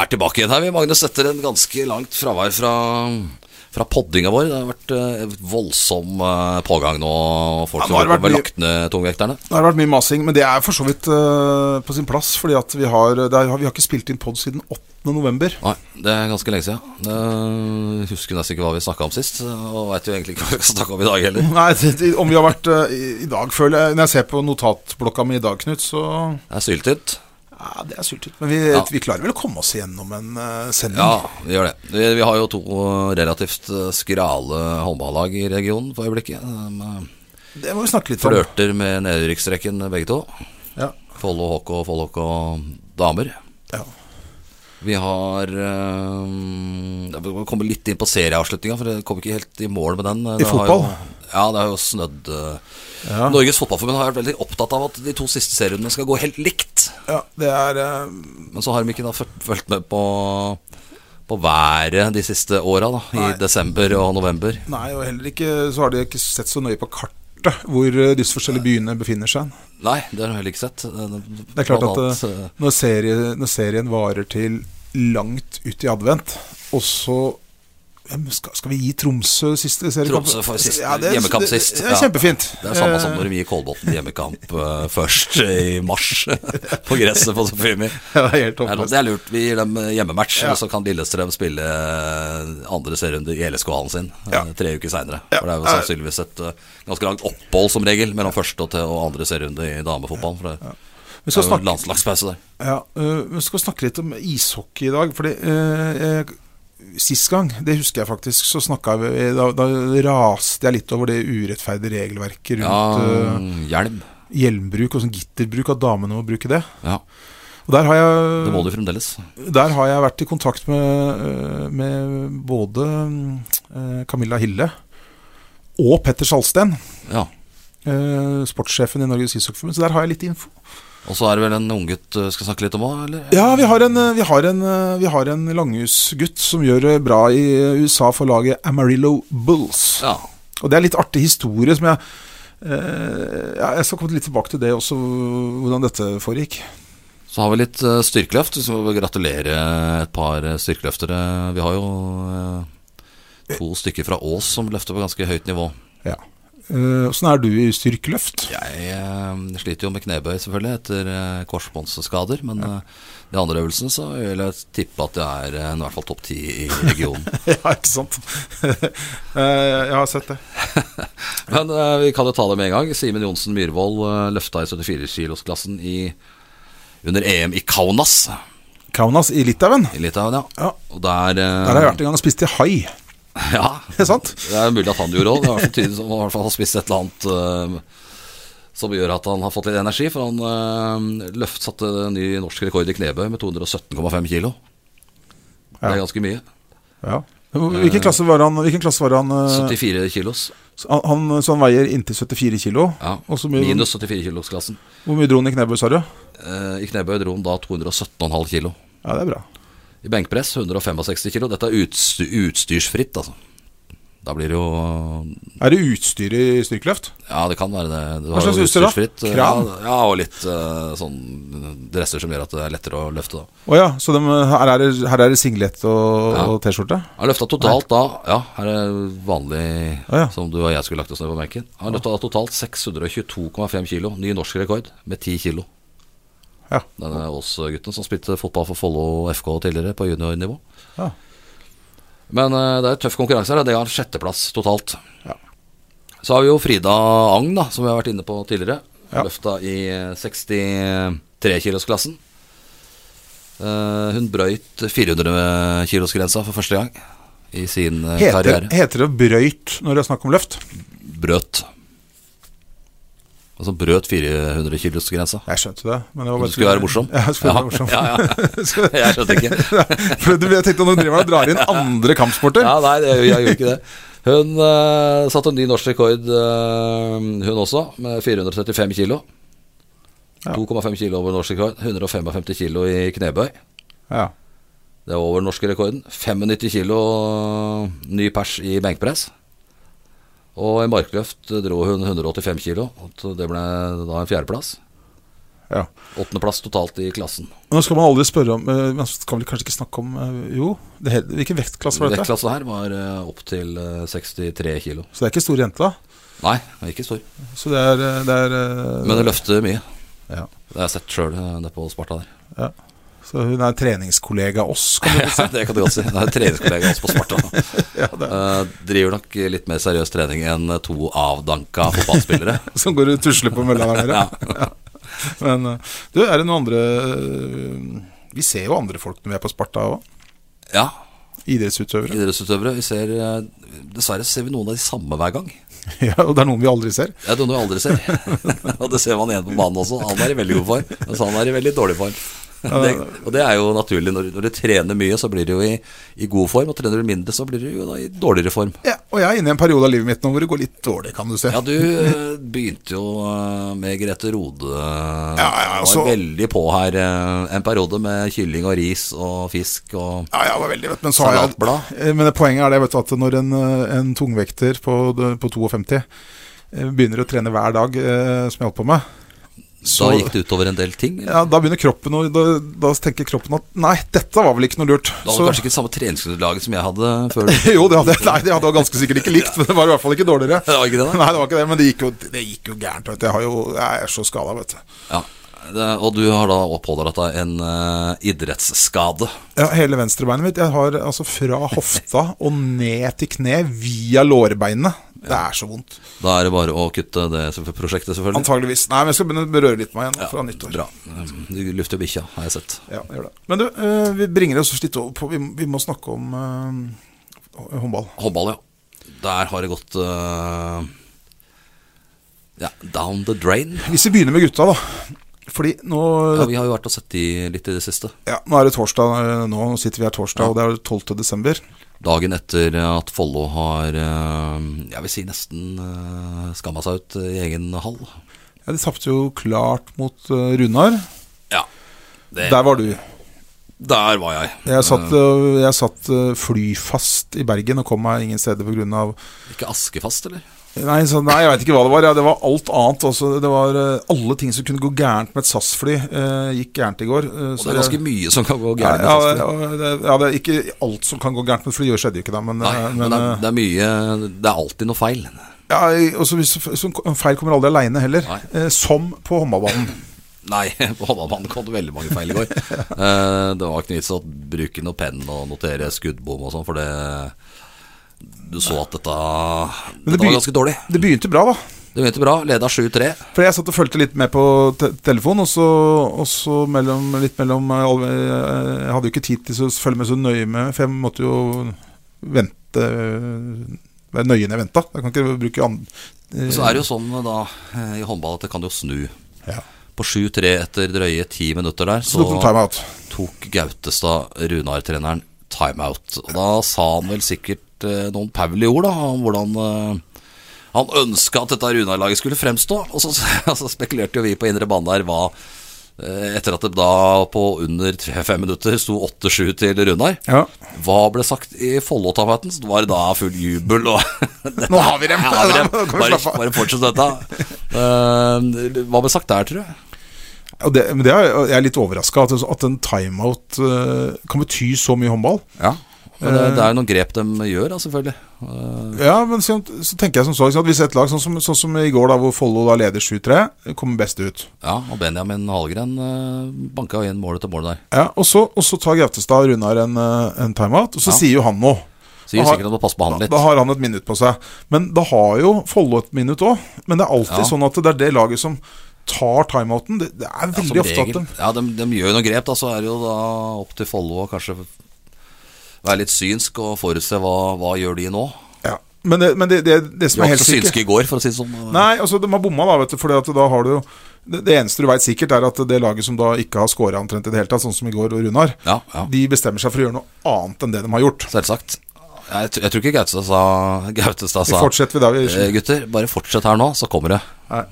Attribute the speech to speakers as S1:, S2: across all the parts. S1: er tilbake igjen her, vi, Magnus, etter en ganske langt fravær fra, fra poddinga vår. Det har vært eh, voldsom eh, pågang nå. Folk
S2: Ja,
S1: som
S2: nå har
S1: har
S2: det vært
S1: vært
S2: mye-
S1: lagt ned tungvekterne.
S2: Det har vært mye masing, men det er for så vidt eh, på sin plass. Fordi at vi har, det er, vi har ikke spilt inn pod siden 8. november.
S1: Nei, det er ganske lenge siden. Det, jeg husker nesten ikke hva vi snakka om sist, og veit jo egentlig ikke hva vi skal snakke om i dag heller.
S2: Nei, det, det, om vi har vært eh, i, I dag, føler jeg Når jeg ser på notatblokka mi i dag, Knut, så
S1: Det er syltynt.
S2: Ja, det er syltynt. Men vi, vi klarer vel å komme oss igjennom en eh, sending?
S1: Ja, vi gjør det. Vi, vi har jo to relativt eh, skrale håndballag i regionen for øyeblikket. De eh,
S2: Det må vi snakke litt om.
S1: flørter med nedrykksrekken begge to.
S2: Ja.
S1: Follo HK og Follo HK damer.
S2: Ja.
S1: Vi har eh, Vi må komme litt inn på serieavslutninga, for jeg kom ikke helt i mål med den. Det har
S2: fotball?
S1: Jo, ja, det har jo snødd. eh. Norges Fotballforbund har vært veldig opptatt av at de to siste serierundene skal gå helt likt.
S2: ja, det er eh,
S1: Men så har de ikke da fulgt- fulgt med på, på været de siste åra, da. I
S2: Nei.
S1: desember og november.
S2: Nei, og heller ikke så har de ikke sett så nøye på kartet hvor eh, disse forskjellige byene befinner seg.
S1: Nei, det har de heller ikke sett. Eh,
S2: Det er klart at eh, når, serie, når serien varer til langt ut i advent, og så hvem skal, skal vi gi Tromsø siste seriekamp?
S1: Tromsø for sist,
S2: Ja, det er-
S1: hjemmekamp
S2: det-
S1: sist.
S2: Det, er
S1: Ja.
S2: kjempefint.
S1: Det er samme som
S2: Eh,
S1: når vi gir Kolbotn hjemmekamp eh, først i mars, på gresset på Sofimi.
S2: ja, det er helt
S1: Det er,
S2: håpløst.
S1: det er lurt. Vi gir dem eh, hjemmematch,
S2: Ja.
S1: så kan Lillestrøm spille eh, andre serierunde i LSK-hallen sin eh,
S2: Ja.
S1: tre uker seinere.
S2: Ja.
S1: For det er jo sannsynligvis et eh, ganske langt opphold som regel mellom første og, til, og andre serierunde i damefotball. For det
S2: Vi skal
S1: er jo
S2: snakke,
S1: landslagspause der.
S2: ja, eh, vi skal snakke litt om ishockey i dag. Fordi eh, jeg- Sist gang, det husker jeg faktisk, så snakka vi da, da raste jeg litt over det urettferdige regelverket rundt
S1: Ja,
S2: eh,
S1: hjelm.
S2: hjelmbruk og sånn gitterbruk, at damene må bruke det.
S1: Ja,
S2: Og der har
S1: det må
S2: jeg,
S1: du fremdeles.
S2: der har jeg vært i kontakt med, øh, med både øh, Camilla Hille og Petter Salsten,
S1: Ja.
S2: øh, sportssjefen i Norges ishockeyforbund, så der har jeg litt info.
S1: Og så er det vel en unggutt eh, skal snakke litt om òg, eller?
S2: Ja, vi har en, øh, vi har en, øh, vi har en langhusgutt som gjør det bra i øh, USA for laget Amarillo Bulls.
S1: Ja.
S2: Og det er litt artig historie som jeg øh, ja, Jeg skal komme litt tilbake til det også, hvordan dette foregikk.
S1: Så har vi litt eh, styrkeløft. Så må vi gratulere et par eh, styrkeløftere. Vi har jo eh, to stykker fra Ås som løfter på ganske høyt nivå.
S2: Ja. Eh, Åssen er du i styrkeløft?
S1: Jeg eh, sliter jo med knebøy selvfølgelig etter eh, korsbåndsskader, men eh, de andre øvelsene så vil jeg tippe at jeg er eh, i hvert fall topp ti i regionen.
S2: Ja, ikke sant? Eh, jeg har sett det.
S1: men eh, vi kan jo ta det med en gang. Simen Johnsen Myhrvold eh, løfta i 74-kilosklassen i- under EM i Kaunas
S2: Kaunas i Litauen.
S1: i Litauen, ja.
S2: Ja.
S1: Og der, eh,
S2: Der har jeg vært en gang og spist til hai.
S1: Ja,
S2: Ikke sant?
S1: Det er mulig at han gjorde òg. Det er i hvert fall tydelig som han i hvert fall har spist et eller annet eh, som gjør at han har fått litt energi. For han uh, løft satte ny norsk rekord i knebøy med 217,5 kilo. Det
S2: Ja.
S1: er ganske mye.
S2: Ja. Hvilken klasse var han? Hvilken klasse var han, eh,
S1: 74 kilos.
S2: han, han Så han veier inntil 74 kilo.
S1: Ja.
S2: Og så mye,
S1: Minus 74-kilosklassen.
S2: hvor mye dro han i knebøy, sa du?
S1: Uh, I knebøy dro han da 217,5 kilo.
S2: Ja, det er bra.
S1: I benkpress 165 kilo. Dette er utstyr, utstyrsfritt, altså. Da blir det jo
S2: Er det utstyr i styrkeløft?
S1: Ja, det kan være det. Du
S2: Hva
S1: har jo
S2: slags utstyr da?
S1: utstyrsfritt, eh,
S2: Kran?
S1: Ja, ja, og litt eh, sånn dresser som gjør at det er lettere å løfte, da.
S2: Å ja, så dem, her, er det, her er det singlet og,
S1: Ja.
S2: og T-skjorte?
S1: Han løfta totalt da Ja, her er vanlig
S2: Å, ja.
S1: som du og jeg skulle lagt oss ned på benken. Han løfta totalt 622,5 kilo. Ny norsk rekord med 10 kilo.
S2: Ja.
S1: Denne Ås-gutten som spilte fotball for Follo FK tidligere, på juniornivå.
S2: Ja.
S1: Men eh, det er tøff konkurranse her. og Det har sjetteplass totalt.
S2: Ja.
S1: Så har vi jo Frida Agn, da, som vi har vært inne på tidligere.
S2: Ja.
S1: Løfta i eh, 63-kilosklassen. Eh, hun brøyt 400-kilosgrensa for første gang i sin eh,
S2: Heter,
S1: karriere.
S2: heter det brøyt når det er snakk om løft?
S1: Brøt. og som Altså brøt 400-kilosgrensa.
S2: Jeg skjønte det. Men det var
S1: Du skulle være morsom?
S2: Ja, jeg skulle være morsom.
S1: Ja, ja, ja. Jeg skjønte ikke.
S2: For du, jeg tenkte at nå driver han og drar inn andre kampsporter.
S1: Ja, nei, det, jeg gjorde ikke det. Hun eh, satte en ny norsk rekord, eh, hun også, med 435 kilo.
S2: Ja.
S1: 2,5 kilo over norsk rekord. 155 kilo i knebøy.
S2: Ja.
S1: Det var over den norske rekorden. 95 kilo eh, ny pers i benkpress. Og i markløft dro hun 185 kilo. Så det ble da en fjerdeplass.
S2: ja.
S1: Åttendeplass totalt i klassen.
S2: Nå skal man aldri spørre om eh, Man skal vel kanskje ikke snakke om eh, Jo, det hele, hvilken vektklasse var dette?
S1: Vektklassen her var eh, opp til eh, 63 kilo.
S2: Så det er ikke stor jente, da.
S1: Nei, ikke stor.
S2: Så det er, eh, det er eh,
S1: Men det løfter mye.
S2: ja.
S1: Det har jeg sett sjøl nede på Sparta der.
S2: ja. Så hun er treningskollega av oss, kan du si.
S1: det kan du godt si. Det er en treningskollega også på Sparta.
S2: ja, det er.
S1: Eh, driver nok litt mer seriøs trening enn to avdanka fotballspillere.
S2: Som går og tusler på mølla der nede.
S1: Ja.
S2: Men eh, du, er det noen andre eh, Vi ser jo andre folk når vi er på Sparta òg.
S1: ja.
S2: Idrettsutøvere.
S1: Idrettsutøvere. Vi ser eh, Dessverre ser vi noen av de samme hver gang.
S2: Ja, og det er noen vi aldri ser.
S1: Det er noen vi aldri ser. Og det ser man igjen på banen også. Han er i veldig god form, mens han er i veldig dårlig form. Det, og det er jo naturlig. Når, når du trener mye, så blir du jo i, i god form. Og trener du mindre, så blir du jo da i dårligere form.
S2: Ja, og jeg er inne i en periode av livet mitt nå hvor det går litt dårlig, kan du se.
S1: Ja, du eh, begynte jo eh, med Grete Rode.
S2: ja, altså-
S1: Var veldig på her eh, en periode med kylling og ris og fisk og
S2: Ja, ja, det var veldig vet, du, men, så har jeg,
S1: Salatblad.
S2: Eh, men det poenget er det vet du, at når en, eh, en tungvekter på, på 52 eh, begynner å trene hver dag, eh, som jeg holdt på med
S1: Da gikk det utover en del ting. eller?
S2: ja, Da begynner kroppen å da, da tenker kroppen at nei, dette var vel ikke noe lurt.
S1: Da hadde
S2: Så-
S1: du kanskje ikke det samme treningsgrunnlaget som jeg hadde før.
S2: jo, det hadde, nei, det hadde jeg ganske sikkert ikke likt, men det var i hvert fall ikke dårligere.
S1: Det var ikke det, da?
S2: Nei, det var ikke det, men det gikk jo, det gikk jo gærent. Vet du. Jeg, har jo, jeg er så skada, vet du.
S1: Ja. Det, og du har da også pådratt deg en eh, idrettsskade.
S2: Ja, hele venstrebeinet mitt. Jeg har altså fra hofta og ned til kne via lårbeinet. Det er så vondt.
S1: Da er det bare å kutte det selvfø- prosjektet, selvfølgelig.
S2: Antageligvis. Nei, men jeg skal begynne å berøre litt på meg igjen nå, fra nyttår.
S1: Bra. Du lufter bikkja, har jeg sett.
S2: Ja, jeg gjør det. Men du, eh, vi bringer oss litt over på Vi, vi må snakke om eh, håndball.
S1: Håndball, ja. Der har det gått eh, ja, down the drain.
S2: Hvis vi begynner med gutta, da. Fordi nå
S1: Ja, vi har jo vært og sett de litt i det siste.
S2: ja, Nå er det torsdag. eh, Nå sitter vi her torsdag, og det er 12. desember.
S1: Dagen etter at Follo har eh, Jeg vil si nesten eh, skamma seg ut i egen hall.
S2: Ja, De tapte jo klart mot eh, Runar.
S1: Ja. Det, der.
S2: Der var du.
S1: var jeg.
S2: Jeg satt, eh, jeg satt eh, flyfast i Bergen og kom meg ingen steder pga.
S1: Ikke askefast, eller?
S2: Nei, så, nei, jeg veit ikke hva det var. Ja, det var alt annet også. Det var eh, alle ting som kunne gå gærent med et SAS-fly, eh, gikk gærent i går. eh,
S1: Og
S2: så
S1: det er
S2: jeg-
S1: ganske mye som kan gå
S2: Ja,
S1: gærent. med
S2: ja,
S1: festen.
S2: ja, det, ja, det er ikke alt som kan gå gærent, men for det gjør skjedde jo ikke det. Men,
S1: Nei,
S2: eh,
S1: men
S2: men,
S1: det er, det er mye Det er alltid noe feil.
S2: eh, ja, også hvis, så feil kommer aldri aleine heller.
S1: Nei.
S2: Eh, som på håndballbanen.
S1: Nei, på håndballbanen kom det veldig mange feil i går. Eh, det var ikke noe vits å bruke noe penn og notere skuddbom og sånn, for det Du så at dette,
S2: Men
S1: dette var
S2: begy-
S1: ganske dårlig.
S2: det begynte bra, da.
S1: Det begynte bra. Leda 7-3.
S2: For jeg satt og fulgte litt med på te telefon, og så, og så mellom, litt mellom eh, alle- eh, Jeg hadde jo ikke tid til å følge med så nøye med, for jeg måtte jo vente eh, Være nøye når jeg venta. Jeg kan ikke bruke an...
S1: Men Så er det jo sånn da eh, i håndball at det kan jo snu.
S2: Ja.
S1: På 7-3 etter drøye ti minutter der,
S2: Så
S1: så
S2: tok de timeout.
S1: tok Gautestad, Runar-treneren, timeout. Og da sa han vel sikkert eh, noen paulige ord, da, om hvordan eh, han ønska at dette Runar-laget skulle fremstå. Og så, så spekulerte jo vi på indre bane der hva eh, Etter at det da på under fem minutter sto 8-7 til Runar.
S2: Ja.
S1: Hva ble sagt i Follo-tafaten? Så det var da full jubel og
S2: Nå har vi dem!
S1: Ja, har vi dem.
S2: Nå kan vi
S1: Bare,
S2: slappe av.
S1: bare fortsett dette. Eh, hva ble sagt der, tror du?
S2: Og det, men det er, jeg er litt overraska at, at en timeout eh, kan bety så mye håndball.
S1: Ja. Men det,
S2: Eh.
S1: det er jo noen grep de gjør, da, selvfølgelig. Eh,
S2: Ja, men så, så tenker jeg som så, ikke sant? hvis et lag sånn som, sånn som i går, da, hvor Follo da leder 7-3, kommer best ut.
S1: ja, og Benjamin Hallgren eh, banka jo inn målet til mål der.
S2: Ja, og så, og så tar Gautestad og Runar en, eh, en timeout, og så
S1: Ja.
S2: sier jo han noe.
S1: Så gir
S2: Da har-
S1: sikkert at man passer på han litt.
S2: Da har han et minutt på seg. Men da har jo Follo et minutt òg. Men det er alltid
S1: Ja.
S2: sånn at det er det laget som tar timeouten. Det, det er
S1: Ja, som
S2: veldig ofte at
S1: regel.
S2: de
S1: Ja, de, de gjør jo noen grep, da. Så er det jo da opp til Follo å kanskje være litt synsk og forutse hva, hva gjør de nå.
S2: ja. Men det, men det, det, det
S1: Du
S2: som
S1: var ikke
S2: er helt
S1: så
S2: sikkert
S1: synske i går, for å si det sånn.
S2: Nei, altså de har bomma, da. vet du Fordi at da har du jo Det, det eneste du veit sikkert, er at det laget som da ikke har scora omtrent i det hele tatt, sånn som i går og Runar,
S1: Ja, ja.
S2: de bestemmer seg for å gjøre noe annet enn det de har gjort.
S1: Selvsagt. Jeg, tr- jeg tror ikke Gautestad sa, Gautestad
S2: Vi
S1: sa
S2: fortsetter vi der vi
S1: «Eh, Gutter, bare fortsett her nå, så kommer det.
S2: Nei,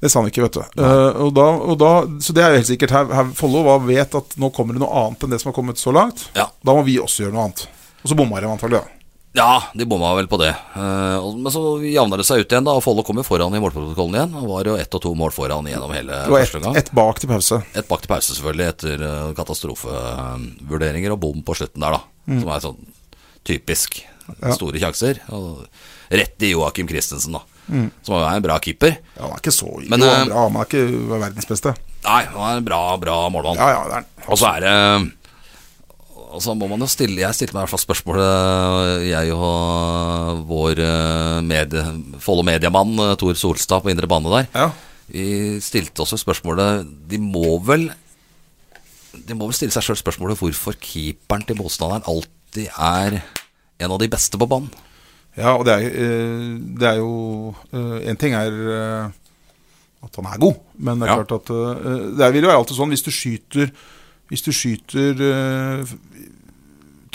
S2: det sa han ikke, vet du. Eh, og da, og da, så det er jo helt sikkert. Her, her Follo var- vet at nå kommer det noe annet enn det som har kommet så langt.
S1: Ja.
S2: Da må vi også gjøre noe annet. Og så bomma de antakelig, da.
S1: Ja, de bomma vel på det. Eh, og- Men så javna det seg ut igjen, da. Og Follo kom jo foran i målprotokollen igjen. Og var jo ett og to mål foran gjennom hele
S2: Det var
S1: første
S2: ett
S1: omgang.
S2: et bak til pause.
S1: Et bak til pause, selvfølgelig, etter eh, katastrofevurderinger og bom på slutten der, da.
S2: Mm.
S1: Som er sånn typisk. Store sjanser. Og rett i Joakim Christensen, da.
S2: Mm.
S1: Som er en bra keeper.
S2: Ja, han er ikke så
S1: Men,
S2: jo,
S1: eh,
S2: han er bra, men han er ikke verdens beste.
S1: Nei, han er en bra, bra målmann.
S2: Ja, ja, det er han.
S1: Og så er det Og så må man jo stille Jeg stilte meg i hvert fall spørsmålet Jeg og vår eh, medie, Follo mediemann eh, Tor Solstad på indre bane der
S2: Ja.
S1: Vi stilte også spørsmålet De må vel De må vel stille seg selv spørsmålet Hvorfor keeperen til motstanderen alltid er En av de beste på banen
S2: Ja, og det er, eh, det er jo eh, En ting er eh, at han er god, men det er
S1: Ja.
S2: klart at eh, Det vil jo være alltid sånn hvis du skyter Hvis du skyter eh, f-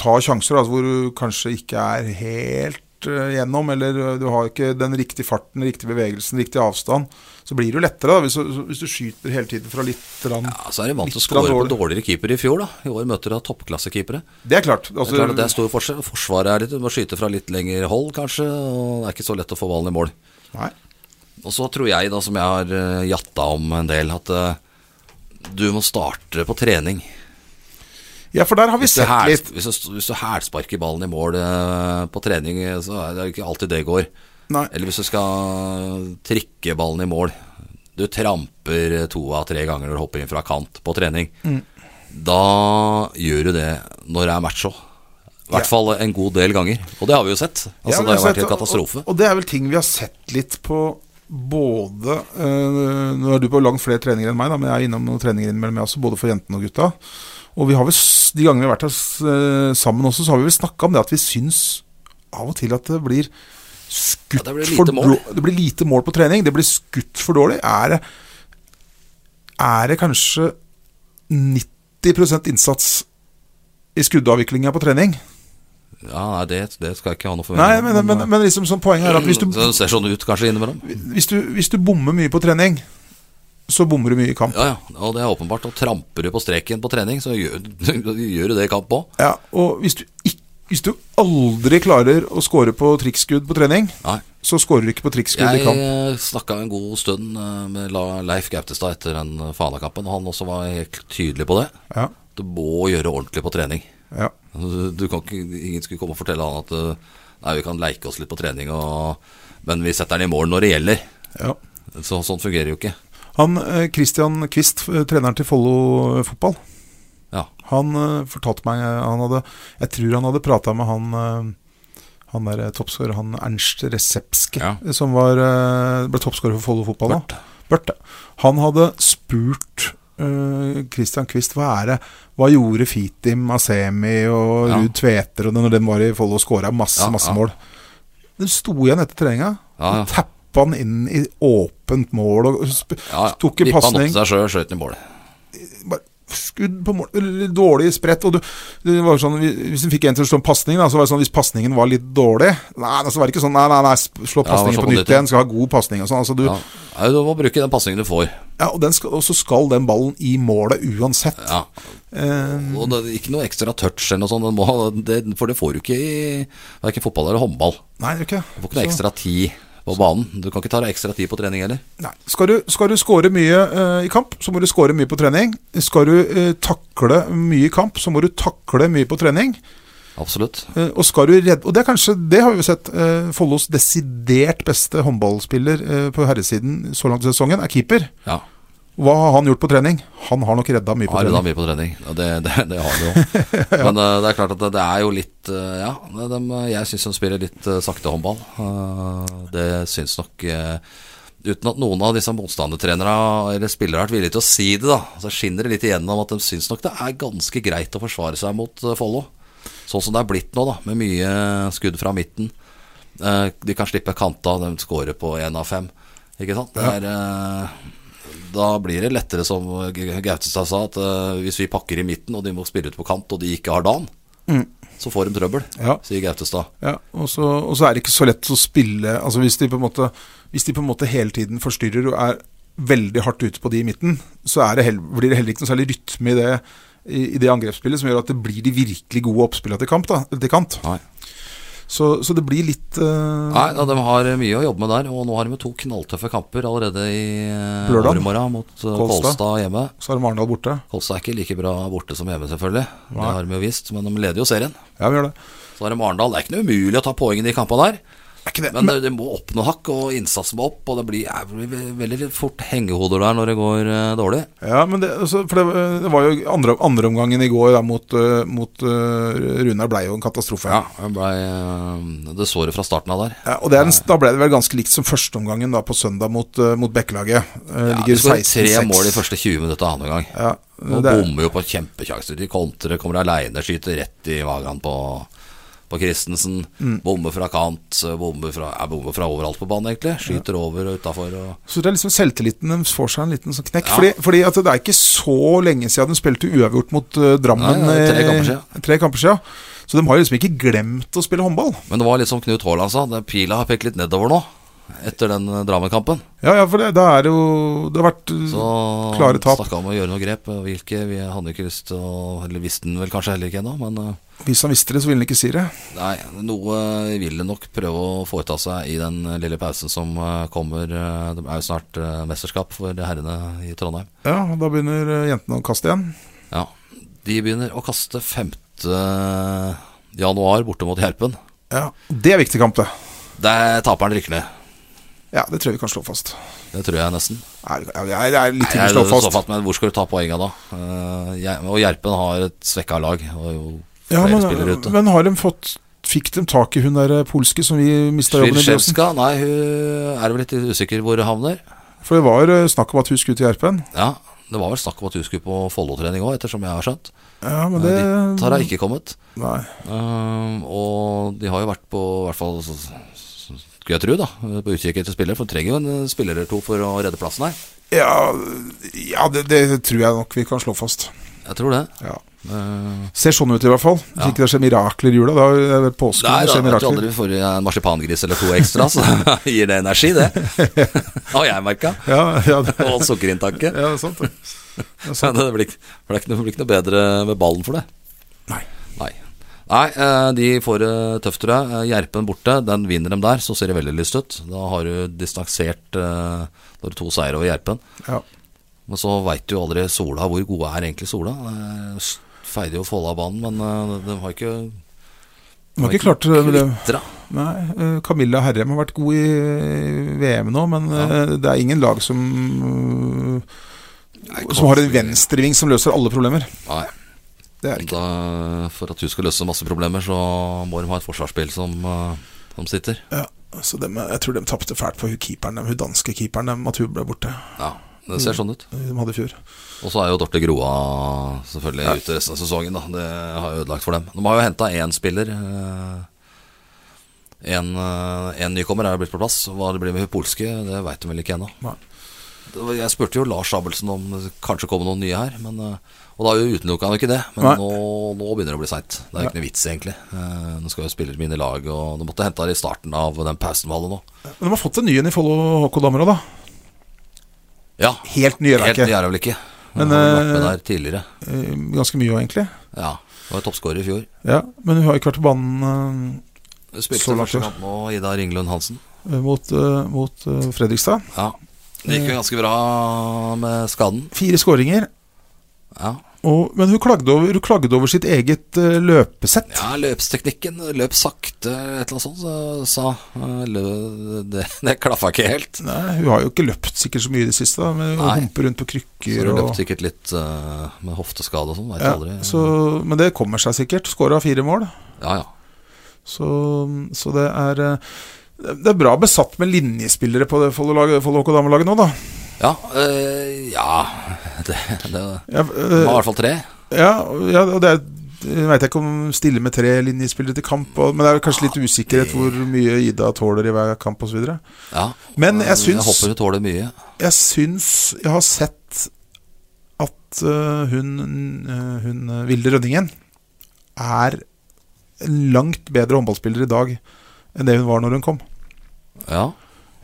S2: Tar sjanser altså, hvor du kanskje ikke er helt eh, gjennom, eller eh, du har ikke den riktige farten, riktige bevegelsen, riktig avstand, så blir det jo lettere da, hvis, du- hvis du skyter hele tiden fra litt rann.
S1: ja, Så er det vant til å
S2: Litt
S1: score på
S2: dårlig.
S1: dårligere keeper i fjor da I år møter du toppklassekeepere
S2: Det er klart.
S1: Det
S2: Altså,
S1: er klart at det er stor forskjell. Forsvaret er litt, du må skyte fra litt lengre hold, kanskje. Og det er ikke så lett å få ballen i mål.
S2: Nei.
S1: Og så tror jeg, da, som jeg har eh, jatta om en del, at eh, du må starte på trening.
S2: Ja, for der har vi
S1: Hvis du,
S2: sett
S1: hæl,
S2: litt.
S1: hvis du, hvis du hælsparker ballen i mål eh, på trening, eh, så er det jo ikke alltid det går.
S2: Nei.
S1: Eller hvis du skal trikke ballen i mål. Du tramper to av tre ganger når du hopper inn fra kant på trening.
S2: Mm.
S1: Da gjør du det når det er match òg. I hvert fall en god del ganger. Og det har vi jo sett. Altså,
S2: Ja,
S1: det har
S2: men
S1: jo vært
S2: jeg
S1: helt
S2: har sett-
S1: katastrofe.
S2: Og, og det er vel ting vi har sett litt på både eh, Nå er du på langt flere treninger enn meg, da, men jeg er innom noen treninger innimellom, jeg også, både for jentene og gutta. Og vi har vel, s- de gangene vi har vært her s- eh, sammen også, så har vi vel snakka om det at vi syns av og til at det blir skutt
S1: Ja, det blir lite
S2: for
S1: mål.
S2: dår- Det blir lite mål på trening. Det blir skutt for dårlig. Er det, er det kanskje 90 innsats i skuddavviklinga på trening?
S1: Ja, nei, det, det skal jeg ikke ha noe
S2: Nei,
S1: forventning
S2: men, men, men liksom sånn poenget er at hvis du
S1: Så det ser sånn ut kanskje innimellom.
S2: hvis du, hvis du bommer mye på trening, så bommer du mye i kamp.
S1: Ja, ja, og det er åpenbart. Og tramper du på streken på trening, så gjør, gjør du det i kamp òg.
S2: Ja, og hvis du, ikk- hvis du aldri klarer å score på trikkskudd på trening,
S1: Nei.
S2: så scorer du ikke på trikkskudd i
S1: Jeg
S2: kamp.
S1: eh, snakka en god stund eh, med La- Leif Gautestad etter den eh, Fana-kampen, og han også var helt tydelig på det.
S2: Ja,
S1: Du må gjøre ordentlig på trening.
S2: ja.
S1: Du du kan ikke, ingen skulle komme og fortelle han at eh, nei, vi kan leike oss litt på trening, og, men vi setter den i mål når det gjelder.
S2: ja.
S1: Så, sånn fungerer jo ikke.
S2: Han, eh, Christian Quist, eh, treneren til Follo eh, fotball,
S1: Ja.
S2: han eh, fortalte meg eh, han hadde, Jeg tror han hadde prata med han eh, han der eh, toppscorer, han Ernst Resepske,
S1: Ja.
S2: eh, som var, eh, ble toppscorer for Follo fotball. da. Børte. Han hadde spurt eh, Christian Quist hva er det Hva gjorde Fitim, Asemi og
S1: Ja.
S2: Ruud Tveter og det når de var i Follo og scora masse,
S1: Ja,
S2: masse
S1: ja.
S2: mål? De sto igjen etter treninga.
S1: Ja, ja.
S2: og Tappa han inn i åpent mål og sp
S1: Ja, ja.
S2: tok en
S1: Vippa han opp
S2: pasning.
S1: til seg sjøl, skjøt den i mål.
S2: bare Skudd på mål eller Dårlig spredt. Og du, det var sånn, hvis du fikk en til å slå en pasning, da, så var det sånn hvis pasningen var litt dårlig Nei, så var det ikke sånn Nei, nei, nei sp- slå
S1: Ja,
S2: pasningen
S1: slå
S2: på
S1: på
S2: nytt
S1: nytt, ja.
S2: igjen. Skal ha god pasning og sånn. Altså, du,
S1: Ja. Nei, Du må bruke den pasningen du får.
S2: Ja, og, den skal, og så skal den ballen i målet uansett.
S1: Ja.
S2: Eh,
S1: Og det er ikke noe ekstra touch eller noe sånt, den må, det, for det får du ikke i verken fotball eller håndball.
S2: nei, det er ikke
S1: Du får ikke noe ekstra tid på banen. Du kan ikke ta deg ekstra tid på trening heller.
S2: Nei. Skal du, skal du score mye eh, i kamp, så må du score mye på trening. Skal du eh, takle mye i kamp, så må du takle mye på trening.
S1: Absolutt.
S2: Eh, og skal du redde Og det er kanskje, det har vi jo sett, eh, Follos desidert beste håndballspiller eh, på herresiden så langt i sesongen, er keeper.
S1: Ja.
S2: Hva har han gjort på trening? Han har nok redda mye på
S1: Har du da
S2: trening.
S1: mye på trening? Ja, det, det, det har du jo. Men eh, det er klart at det, det er jo litt eh, Ja, det, dem, eh, jeg syns de spiller litt eh, sakte håndball. Eh, det syns nok eh, Uten at noen av disse motstandertrenere eller spillere har vært villige til å si det, da. Så skinner det litt igjennom at de syns nok det er ganske greit å forsvare seg mot eh, Follo. Sånn som det er blitt nå, da, med mye skudd fra midten. Eh, De kan slippe kanta, de scorer på én av fem. Ikke sant? Det er, eh, da blir det lettere, som G- Gautestad sa, at eh, hvis vi pakker i midten, og de må spille ut på kant, og de ikke har dagen, så får de trøbbel,
S2: Mm. Ja.
S1: sier Gautestad.
S2: Ja, og så, og så er det ikke så lett å spille Altså hvis de på en måte, hvis de på en måte hele tiden forstyrrer og er veldig hardt ute på de i midten, så er det hel- blir det heller ikke noe særlig rytme i det, i, i det angrepsspillet som gjør at det blir de virkelig gode oppspillene til, kamp, da, eller til kant.
S1: Nei.
S2: Så, så det blir litt eh,
S1: Nei, da, De har mye å jobbe med der, og nå har de to knalltøffe kamper allerede i eh,
S2: Lørdag.
S1: overmorgen mot eh,
S2: Kolstad.
S1: Kolstad hjemme.
S2: Så har de Arendal borte.
S1: Kolstad er ikke like bra borte som hjemme, selvfølgelig. Det
S2: Nei.
S1: har de jo visst, men de leder jo serien.
S2: Ja, vi gjør det.
S1: Så er det Arendal. Det er ikke noe umulig å ta poengene i kampene der.
S2: Er ikke det
S1: Men, det, det må opp noen hakk, og innsatsen må opp. Og det blir, det blir ve- veldig fort hengehoder der når det går eh, dårlig.
S2: Ja, men det, altså, for det, det var jo andre, andre omgangen i går da, mot, eh, mot eh, Runar ble jo en katastrofe.
S1: det ble, eh, det så det fra starten av der.
S2: Ja, og det er en, Da ble det vel ganske likt som førsteomgangen da, på søndag mot, eh, mot Bekkelaget. Eh,
S1: Ja,
S2: ligger
S1: det skårer tre
S2: 16-6.
S1: mål de første 20 minutter av andre gang.
S2: Ja,
S1: Og
S2: det,
S1: bommer jo på kjempesjanser. De kontrer, kommer aleine, skyter rett i magen på, på Christensen.
S2: Mm.
S1: Bommer fra kant, bommer fra, ja, bommer fra overalt på banen, egentlig. Skyter over og utafor. Og
S2: så det er liksom selvtilliten deres får seg en liten sånn knekk.
S1: Ja.
S2: Fordi, fordi at det er ikke så lenge siden de spilte uavgjort mot eh, Drammen.
S1: Nei, det er tre kamper
S2: eh, tre kamper siden. Så de har jo liksom ikke glemt å spille håndball.
S1: Men det var litt som Knut Haaland sa, det- pila har pekt litt nedover nå. Etter den eh, Drammen-kampen.
S2: Ja, ja, for det, det er jo Det har vært eh,
S1: Så
S2: Klare tap.
S1: snakka om å gjøre noe grep. og Hvilke vi hadde ikke lyst til å Eller visste den vel kanskje heller ikke ennå, men eh,
S2: Hvis han visste det, så ville han ikke si det.
S1: nei, noe vil det nok prøve å foreta seg i den eh, lille pausen som eh, kommer. Eh, Det er jo snart eh, mesterskap for herrene i Trondheim.
S2: Ja, og Da begynner eh, jentene å kaste igjen.
S1: Ja, De begynner å kaste 5. januar borte mot Gjerpen.
S2: Ja, Det er viktig kamp, det.
S1: Der taperen rykker ned.
S2: Ja, Det tror jeg vi kan slå fast.
S1: Det tror jeg nesten.
S2: Nei, det er- det er litt
S1: Nei,
S2: ting å
S1: jeg
S2: slå
S1: slår
S2: fast.
S1: fast, men hvor skal du ta poenga da? Eh, Gjer- og Gjerpen har et svekka lag. Og jo
S2: Ja,
S1: flere spillere
S2: men,
S1: ute.
S2: men har de fått Fikk de tak i hun der eh, polske som vi mista jobben i Bjørsen?
S1: Svirskjevska, nei, hun er vel litt usikker hvor hun havner.
S2: For det var eh, snakk om at hun skulle til Gjerpen.
S1: Ja, Det var vel snakk om at hun skulle på Follo-trening òg, ettersom jeg har skjønt.
S2: Ja,
S1: Men
S2: men det
S1: Dit har hun ikke kommet.
S2: Nei.
S1: Eh, og de har jo vært på, i hvert fall så- så- skulle jeg tro, da, eh, på utkikk etter spillere. For de trenger jo en eh, spiller eller to for å redde plassen her.
S2: Ja, ja det, det tror jeg nok vi kan slå fast.
S1: Jeg tror det.
S2: Ja.
S1: Eh,
S2: Ser sånn ut i hvert fall. Hvis
S1: Ja.
S2: ikke det skjer mirakler i jula, da er det påske
S1: Nei,
S2: når det
S1: da,
S2: skjer
S1: jeg tror
S2: mirakler.
S1: aldri vi får en marsipangris eller to ekstra, så gir det energi, det. Har jeg merka.
S2: Ja, ja, det,
S1: Og sukkerinntaket.
S2: ja, det er sant. det. Det er
S1: Så
S2: sant.
S1: det blir, ikke- for det er ikke noe- det blir ikke noe bedre med ballen for det.
S2: Nei.
S1: Nei. Nei, eh, de får det tøft, tror jeg. Eh, Gjerpen borte, den vinner dem der, så ser det veldig lyst ut. Da har du distansert eh, Da har du to seire over Gjerpen.
S2: Ja.
S1: Men så veit du jo aldri Sola. Hvor gode er egentlig Sola? Eh, s- Feider jo Folla av banen, men eh, de har ikke
S2: De har ikke klart det. men det-
S1: kvitra.
S2: Nei, eh, Camilla Herrem har vært god i eh, VM nå, men eh, det er ingen lag som eh, Som har en venstreving som løser alle problemer.
S1: Nei.
S2: Det er ikke
S1: Da, for at hun skal løse masse problemer, så må de ha et forsvarsspill som, eh, som sitter.
S2: Ja, så dem, jeg tror de tapte fælt på hun keeperen, dem, hun danske keeperen, dem, at hun ble borte. eh,
S1: Ja, det ser
S2: Mm.
S1: sånn ut.
S2: De hadde i fjor.
S1: Og så er jo Dorte Groa selvfølgelig ute resten av sesongen. Da. Det har jo ødelagt for dem. De har jo henta én spiller. eh, En, eh, en nykommer er jo blitt på plass. Hva det blir med hun polske, det veit de vel ikke ennå.
S2: Nei.
S1: Det var- Jeg spurte jo Lars Abelsen om det kanskje kommer noen nye her. Men, eh, og da utelukka han jo ikke det.
S2: Nei.
S1: Men nå, nå begynner det å bli seint. Det er ikke noe vits, egentlig. Eh, Nå skal jo spillere mine i lag, og de måtte hente her i starten av den pausen vi hadde nå.
S2: Men de har fått en ny en i Follo HK damer òg, da.
S1: Ja,
S2: Helt ny er det
S1: helt
S2: ikke.
S1: ny er det vel ikke.
S2: Men,
S1: Men, har vært med der
S2: eh,
S1: tidligere.
S2: Eh, Ganske mye òg, egentlig.
S1: Ja, var toppskårer i fjor.
S2: Ja, men hun har ikke vært på banen Så
S1: Spilte
S2: langt,
S1: første
S2: ja.
S1: kamp med Ida Ringlund Hansen.
S2: eh, mot, eh, mot eh, Fredrikstad.
S1: Ja. Det gikk jo ganske bra med skaden.
S2: Fire skåringer.
S1: Ja,
S2: Og, men hun klagde, over, hun klagde over sitt eget eh, løpesett.
S1: ja løpsteknikken. Løp sakte, et eller annet sånt, så sa eh, lø- Det, det klaffa ikke helt.
S2: Nei, hun har jo ikke løpt sikkert så mye i det siste, da, men hun
S1: Nei.
S2: humper rundt på
S1: Så
S2: krykker.
S1: du
S2: Og,
S1: løp sikkert litt eh, med hofteskade og sånn, veit
S2: ja,
S1: aldri.
S2: så, men det kommer seg sikkert. Skåra fire mål.
S1: Ja, ja.
S2: Så, så det er eh, Det er bra besatt med linjespillere på det Follo-laget- Follo HK damelaget nå, da.
S1: Ja, eh, ja. Det, det, det
S2: Jeg,
S1: var i
S2: eh,
S1: hvert fall tre.
S2: ja, ja, og det er veit jeg ikke om stille med tre linjespillere til kamp, og, men det er vel kanskje litt usikkerhet hvor mye Ida tåler i hver kamp osv.
S1: Ja, Eh,
S2: Men jeg
S1: Jeg
S2: syns-
S1: håper du tåler mye.
S2: Jeg syns jeg har sett at eh, hun, eh, hun eh, Vilde Rønningen er en langt bedre håndballspiller i dag enn det hun var når hun kom.
S1: Ja,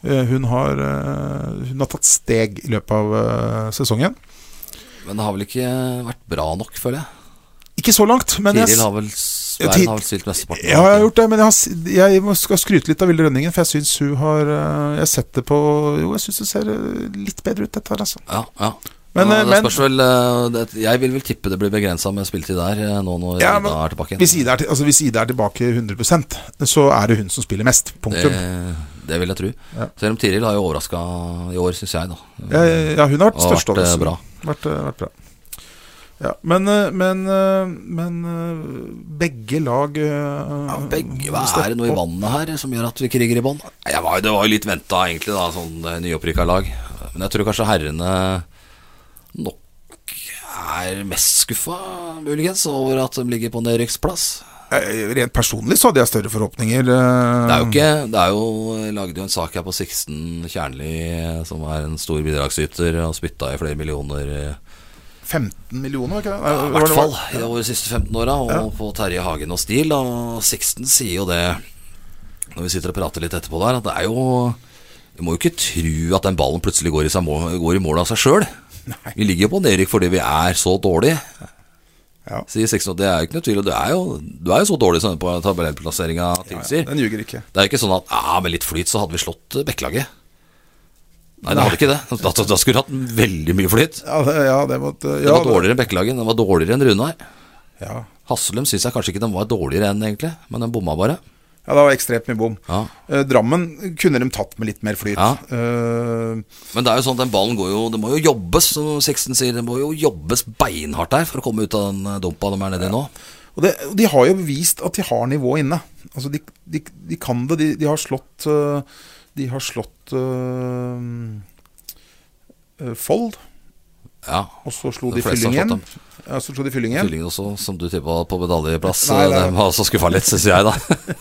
S2: Eh, Hun har, eh, hun har tatt steg i løpet av eh, sesongen.
S1: Men det har vel ikke vært bra nok, føler jeg.
S2: Ikke så langt, men jeg,
S1: Tiril
S2: s-
S1: har vel,
S2: Ja,
S1: Svein
S2: Ti-
S1: har vel stilt mesteparten.
S2: Ja, jeg har gjort det, men jeg, har, s- jeg må- skal skryte litt av Vilde Rønningen, for jeg syns hun har eh, Jeg har sett det på Jo, jeg syns det ser eh, litt bedre ut, dette her, altså.
S1: Ja, ja.
S2: Men,
S1: ja,
S2: eh,
S1: det
S2: men-
S1: spørs vel eh, det, Jeg vil vel tippe det blir begrensa med spilletid der eh, nå når
S2: Ja,
S1: Ida
S2: men
S1: er tilbake.
S2: Hvis Ida er, til- altså, hvis Ida er tilbake 100 så er det hun som spiller mest. Punktum.
S1: det, det vil jeg tro.
S2: Ja.
S1: Selv om Tiril har jo overraska i år, syns jeg, da.
S2: Ja, ja, hun har vært
S1: Og
S2: størst
S1: vært,
S2: av oss.
S1: eh, bra.
S2: Vært, eh, vært bra. Ja, men, eh, men, eh, men eh, begge lag ja,
S1: Begge, hva er det noe i vannet her som gjør at vi kriger i bånn? Nei, jeg var- Det var jo litt venta, egentlig, da, sånn eh, nyopprykka lag. Men jeg tror kanskje herrene nok er mest skuffa, muligens, over at de ligger på nedrykksplass.
S2: Eh, Rent personlig så hadde jeg større forhåpninger. eh,
S1: Det
S2: Mm.
S1: er jo ikke Det er jo jeg lagde jo en sak her på Sixten Kjernli, eh, som er en stor bidragsyter, og spytta i flere millioner. eh,
S2: 15 millioner, var ikke
S1: Ja,
S2: det? Nei,
S1: I
S2: var det-
S1: hvert fall i de siste 15 åra, og på Terje Hagen og Stil. Og Sixten sier jo det når vi sitter og prater litt etterpå der, at det er jo Vi må jo ikke tro at den ballen plutselig går i, seg mål, går i mål av seg sjøl. Vi ligger jo på nedrykk fordi vi er så dårlige,
S2: Ja.
S1: sier Sixten. Og det er jo ikke noe tvil. Og du er jo, du er jo så dårlig som den på tabellplasseringa tilsier.
S2: Den ljuger ikke.
S1: Det er jo ikke sånn at ja, med litt flyt så hadde vi slått eh, Bekkelaget. Nei, det hadde ikke det. Da, da, da skulle du hatt veldig mye flyt.
S2: Ja, det, ja, det måtte
S1: Den
S2: ja,
S1: var dårligere enn Bekkelaget. Den var dårligere enn Runar.
S2: Ja.
S1: Hasselum syns jeg kanskje ikke den var dårligere enn, egentlig, men den bomma bare.
S2: ja, det var ekstremt mye bom.
S1: Ja.
S2: Eh, Drammen kunne de tatt med litt mer flyt.
S1: Ja.
S2: Eh,
S1: Men det er jo sånn at den ballen går jo Det må jo jobbes, som Sixten sier. Det må jo jobbes beinhardt der for å komme ut av den eh, dumpa de er nedi nå.
S2: og det, og de har jo vist at de har nivået inne. Altså, de, de, de kan det. De, de har slått eh, De har slått eh, eh, Fold,
S1: Ja.
S2: og så slo
S1: De
S2: de
S1: fleste har slått
S2: Fyllingen.
S1: dem.
S2: Ja, så slo de Fyllingen.
S1: Fyllingen også, som du tippa på medaljeplass.
S2: Nei,
S1: eh,
S2: nei.
S1: Dem har også skuffa litt, syns jeg, da.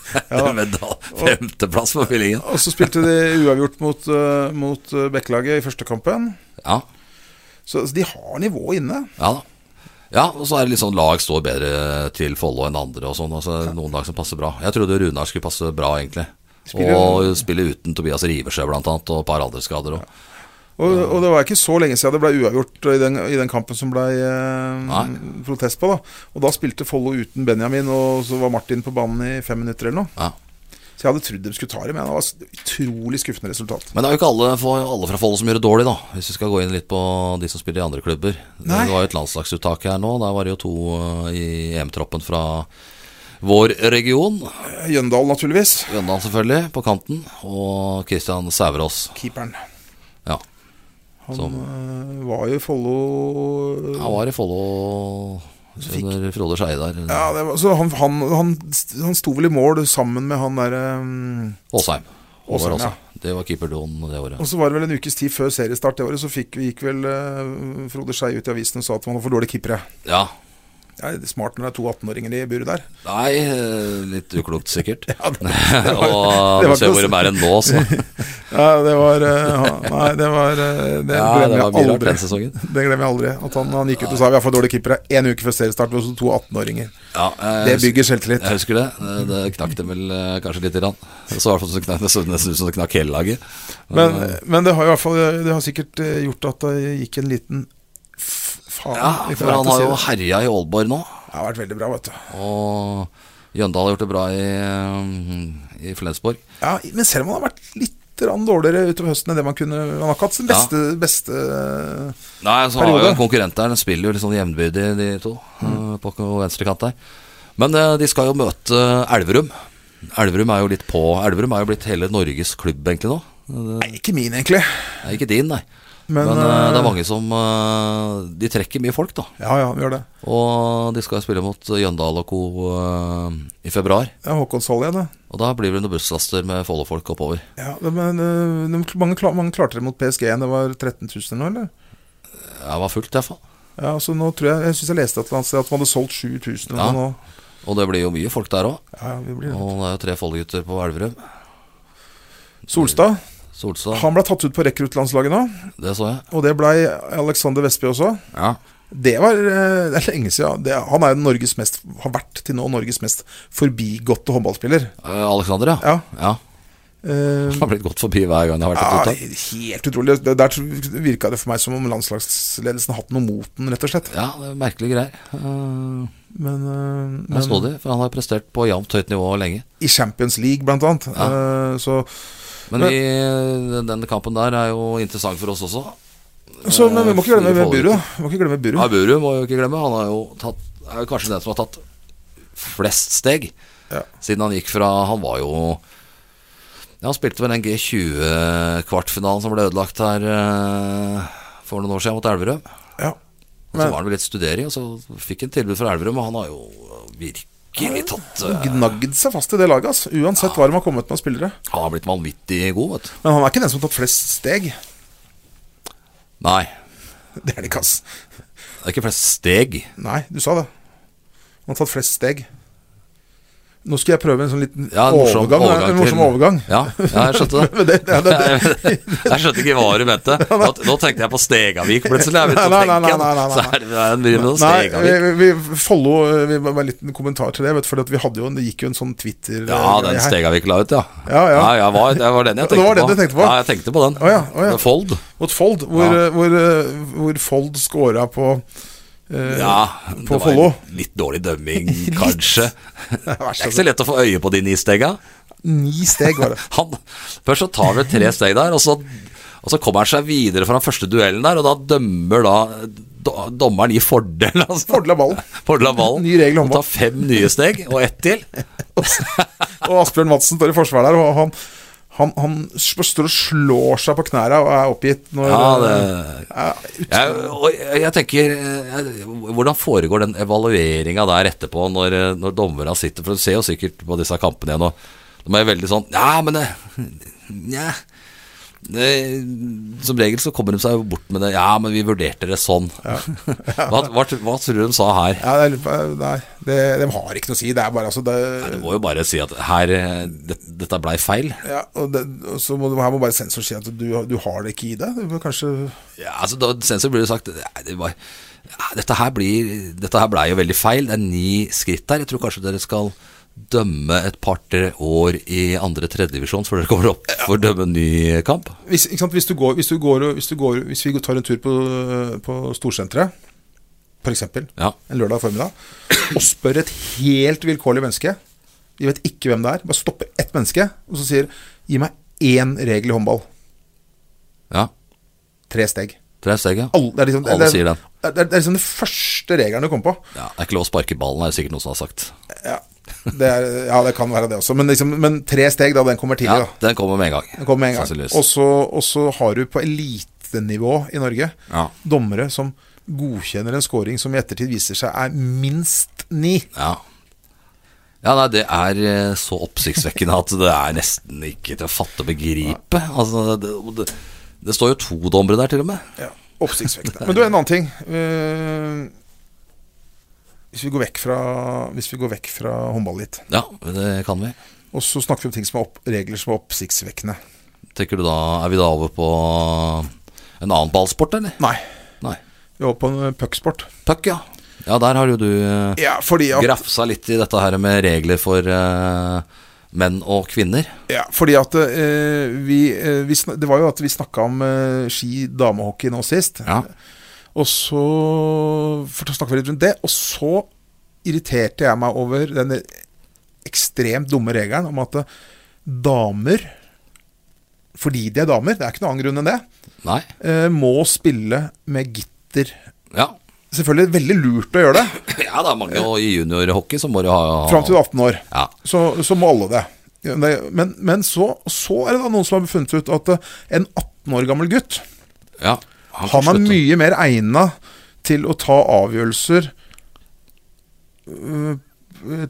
S1: Medal- Femteplass på fyllingen.
S2: Og så spilte de uavgjort mot, eh, mot eh, Bekkelaget i første kampen.
S1: Ja.
S2: Så altså, de har nivået inne.
S1: Ja da. Ja, og så er det litt sånn lag står bedre til Follo enn andre og sånn. Altså, Noen lag som passer bra. Jeg trodde Runar skulle passe bra, egentlig.
S2: Spiller-
S1: Og spille uten Tobias Rivesjø, blant annet, og et par andre skader. Og.
S2: Og, og det var ikke så lenge siden det ble uavgjort i den, i den kampen som ble eh,
S1: Nei.
S2: protest på. da Og da spilte Follo uten Benjamin, og så var Martin på banen i fem minutter eller noe.
S1: Ja.
S2: Så jeg hadde trodd de skulle ta det, men det var s- utrolig skuffende resultat.
S1: Men det er jo ikke alle, for, alle fra Follo som gjør det dårlig, da. Hvis vi skal gå inn litt på de som spiller i andre klubber.
S2: Nei.
S1: Det var jo et landslagsuttak her nå. Der var det jo to eh, i EM-troppen fra vår region.
S2: Jøndal, naturligvis.
S1: Jøndal, selvfølgelig, på kanten. Og Christian Sæverås.
S2: Keeperen.
S1: Ja.
S2: Han
S1: Som-
S2: eh, var jo i Follo
S1: Han var i Follo
S2: fikk-
S1: under Frode Skeie der.
S2: Ja, det var, så han, han, han, han sto vel i mål sammen med han derre
S1: Åsheim. Håvard
S2: Åsheim,
S1: Åsheim. Det var keeperduoen det året.
S2: Og så var det vel en ukes tid før seriestart det året, så fikk, gikk vel eh, Frode Skei ut i avisen og sa at man var for dårlige keepere.
S1: Ja.
S2: Ja, det er smart når det er to 18-åringer i buret der.
S1: Nei, eh, litt uklokt sikkert.
S2: det-
S1: Og
S2: det var
S1: du ser
S2: ikke
S1: hvor de
S2: noe-
S1: er enn nå, så.
S2: Ja, det var eh, han- Nei, det var eh, Det
S1: Ja, det
S2: glemmer
S1: var mye rart
S2: jeg
S1: altså. den
S2: aldri.
S1: sesongen.
S2: Det glemmer jeg aldri. At han, han gikk ut og sa vi har for dårlige keepere én uke før seriestart, og så to 18-åringer.
S1: Ja, jeg
S2: Det
S1: husker-
S2: bygger selvtillit.
S1: Jeg husker det. Eh, Det knakk dem vel eh, kanskje lite grann. Det så i hvert fall så knakk- det så nesten ut som det knakk hele laget.
S2: Men, men det har i hvert fall Det har sikkert eh, gjort at det gikk en liten f- faen.
S1: Ja,
S2: vi får
S1: for han har jo
S2: vente og se det.
S1: herja i Aalborg nå.
S2: Det har vært veldig bra, vet du.
S1: Og Jøndal har gjort det bra i, eh, i Flensborg.
S2: Ja, men selv om han har vært litt grann dårligere utover høsten enn det man kunne Han har ikke hatt sin beste, beste
S1: Nei, så har jo
S2: Periode. Mm.
S1: en konkurrent der. Den spiller jo litt sånn jevnbyrdig, de to. eh, På venstre kant der. Men eh, de skal jo møte eh, Elverum. Elverum er jo litt på Elverum er jo blitt hele Norges klubb, egentlig, nå.
S2: Nei, ikke min, egentlig.
S1: Nei, ikke din, nei.
S2: Men,
S1: Men, eh, det er
S2: eh,
S1: mange som eh, De trekker mye folk, da.
S2: Ja, ja, vi gjør det.
S1: Og de skal spille mot Jøndal og co. eh, i februar.
S2: Det er Håkonshall igjen, det.
S1: Og da blir det noen busslaster med Follo-folk oppover.
S2: Ja, det- men eh, øh, de, mange, kla- mange klarte det mot PSG igjen. Det var 13 000 nå, eller?
S1: Jeg var fullt, iallfall.
S2: Ja, altså nå tror Jeg jeg syns jeg leste et eller annet sted at man hadde solgt 7000 eller
S1: Ja.
S2: noe nå.
S1: Og det blir jo mye folk der òg.
S2: Ja, vi blir
S1: Og det er jo tre Folly-gutter på Elverum.
S2: Solstad
S1: Solstad,
S2: han ble tatt ut på rekruttlandslaget nå,
S1: det så jeg.
S2: og det blei Alexander Vestby også.
S1: Ja.
S2: Det var eh, det er lenge siden. Det, han er jo Norges mest, har vært til nå Norges mest forbigåtte håndballspiller.
S1: Eh, Alexander, ja.
S2: Ja.
S1: ja.
S2: Eh,
S1: Han har blitt gått forbi hver gang det har vært et
S2: ja,
S1: uttak.
S2: helt utrolig. Det, der virka det for meg som om landslagsledelsen har hatt noe mot den, rett og slett.
S1: Ja, det er merkelige greier. Eh,
S2: Men, eh,
S1: Men
S2: men
S1: snodig, for han har prestert på jevnt høyt nivå lenge.
S2: i Champions League, blant annet. Eh, så,
S1: Men vi, den kampen der er jo interessant for oss også.
S2: så Men vi må ikke glemme
S1: Fire
S2: Buru, da. Vi må ikke glemme Buru.
S1: Aburu må jo ikke glemme. Han har jo tatt, er jo kanskje den som har tatt flest steg
S2: Ja.
S1: siden han gikk fra Han var jo ja, Han spilte vel den G20-kvartfinalen som ble ødelagt her eh, for noen år siden mot Elverum.
S2: Ja.
S1: Og så
S2: Men-
S1: var han vel litt studering, og så fikk han tilbud fra Elverum, og han har jo virkelig tatt eh,
S2: Gnagd seg fast i det laget, ass. uansett hva de har kommet med av spillere.
S1: Han har blitt vanvittig god, vet du.
S2: Men han er ikke den som har tatt flest steg.
S1: Nei,
S2: Det er det ikke, ass.
S1: det er ikke flest steg.
S2: Nei, du sa det. Han har tatt flest steg. Nå skal jeg prøve en sånn liten
S1: Ja, en morsom
S2: overgang.
S1: overgang
S2: en morsom
S1: til-
S2: overgang.
S1: Ja, ja, jeg skjønte det.
S2: Men det, ja, det, det.
S1: jeg skjønte ikke hva du mente. Nå, nå tenkte jeg på Stegavik plutselig. Jeg begynte å
S2: Nei, nei, nei,
S1: tenke,
S2: nei, nei, nei.
S1: Så er det- det er en driver med
S2: Nei,
S1: Stegavik.
S2: vi, vi Follo eh, vi, bare En liten kommentar til det. Vet, du, fordi at vi hadde jo, en- det gikk jo en sånn Twitter
S1: Ja, den
S2: greie her.
S1: Stegavik la ut, ja.
S2: Ja, ja.
S1: jeg var, det var den jeg
S2: Det
S1: tenkte
S2: var
S1: på.
S2: den du tenkte på?
S1: Ja, jeg tenkte på den.
S2: Å ja, å ja.
S1: The Fold.
S2: Mot Fold, hvor,
S1: Ja.
S2: eh, hvor, eh, hvor Fold scora på eh,
S1: Ja, det var
S2: På Follo.
S1: Litt dårlig dømming, kanskje. Det
S2: vær så
S1: er ikke så lett å få øye på de ni stegga.
S2: Ni steg, var det.
S1: Han, først så tar han tre steg der, og så, og så kommer han seg videre fra den første duellen der, og da dømmer da do- dommeren i fordel. Altså.
S2: Fordel av ballen.
S1: Fordel av ballen.
S2: Ny regel i håndball.
S1: Og tar fem nye steg, og ett til.
S2: Og Asbjørn Madsen står i forsvar der, og han, han, han står og slår seg på knærne og er oppgitt. Når, eh,
S1: Ja, det
S2: Ja, ut-
S1: jeg, og jeg jeg tenker eh, jeg- Hvordan foregår den evalueringa der etterpå, når, eh, når dommerne sitter? For du ser jo sikkert på disse kampene igjen, og de er veldig sånn Ja, men det Nja. Det- Som regel så kommer de seg jo bort med det. Ja, men vi vurderte det sånn. Hva, hva, hva tror du de sa her?
S2: ja, det, er- eh, nei, det, de har ikke noe å si. Det er bare altså det,
S1: Du må jo bare si at her eh, det, Dette blei feil.
S2: ja, og det, og så må, du- her må bare sensor si at du, du har det ikke i deg. Du bør kanskje
S1: Ja, altså da sensor blir det sagt nei, det var, ja, dette, her blir, dette her ble jo veldig feil Det er ni skritt der Jeg tror kanskje dere skal dømme et par-tre år i andre tredjevisjon Før dere kommer opp for å dømme en ny kamp
S2: Hvis, ikke sant? Hvis, du går, hvis, du går, og- hvis, du går, hvis vi tar en tur på, på Storsenteret, f.eks.
S1: Ja,
S2: en lørdag formiddag, og spør et helt vilkårlig menneske De vet ikke hvem det er. Bare stopper ett menneske og så sier 'gi meg én regel i håndball'.
S1: ja,
S2: Tre steg.
S1: tre steg ja.
S2: Alle, det er liksom,
S1: Alle
S2: det, er-
S1: sier den.
S2: Det er, det er liksom det første regelen du kommer på.
S1: ja Det er ikke lov å sparke ballen er det sikkert noen som har sagt
S2: Ja det, er, ja, det kan være det også. Men, liksom, men tre steg, da. Den kommer tidlig,
S1: Ja,
S2: da.
S1: den kommer med en gang
S2: Den kommer med en gang.
S1: sannsynligvis.
S2: Og så- Og så har du på elitenivå i Norge
S1: Ja.
S2: dommere som godkjenner en scoring som i ettertid viser seg er minst ni.
S1: Ja ja, nei, det er eh, så oppsiktsvekkende at det er nesten ikke til å fatte og begripe. Altså, det, det, det står jo to dommere der til og med.
S2: Ja, Oppsiktsvekkende. Men du, en annen ting. Eh, hvis vi går vekk fra, hvis vi går vekk fra håndball litt,
S1: Ja, det kan vi.
S2: og så snakker vi om ting som er opp, regler som er oppsiktsvekkende.
S1: Tenker du da, Er vi da over på en annen ballsport, eller?
S2: Nei,
S1: Nei.
S2: vi var på en pucksport.
S1: Puck, ja. Ja, der har jo du eh,
S2: Ja, fordi at
S1: grafsa litt i dette her med regler for eh, menn og kvinner.
S2: Ja, fordi at eh, vi, eh, vi sn- Det var jo at vi snakka om eh, ski damehockey nå sist.
S1: Ja.
S2: Og så snakka vi litt rundt det. Og så irriterte jeg meg over den ekstremt dumme regelen om at eh, damer, fordi de er damer, det er ikke noen annen grunn enn det,
S1: Nei.
S2: eh, må spille med gitter.
S1: Ja.
S2: Selvfølgelig veldig lurt å gjøre det.
S1: Ja, det er mange og i juniorhockey som må du ha
S2: Fram til du er 18 år.
S1: Ja.
S2: Så, så må alle det. Det- Men, men så, så er det da noen som har funnet ut at eh, en 18 år gammel gutt
S1: ja. kan
S2: Han er
S1: slutte.
S2: mye mer egna til å ta avgjørelser øh, øh,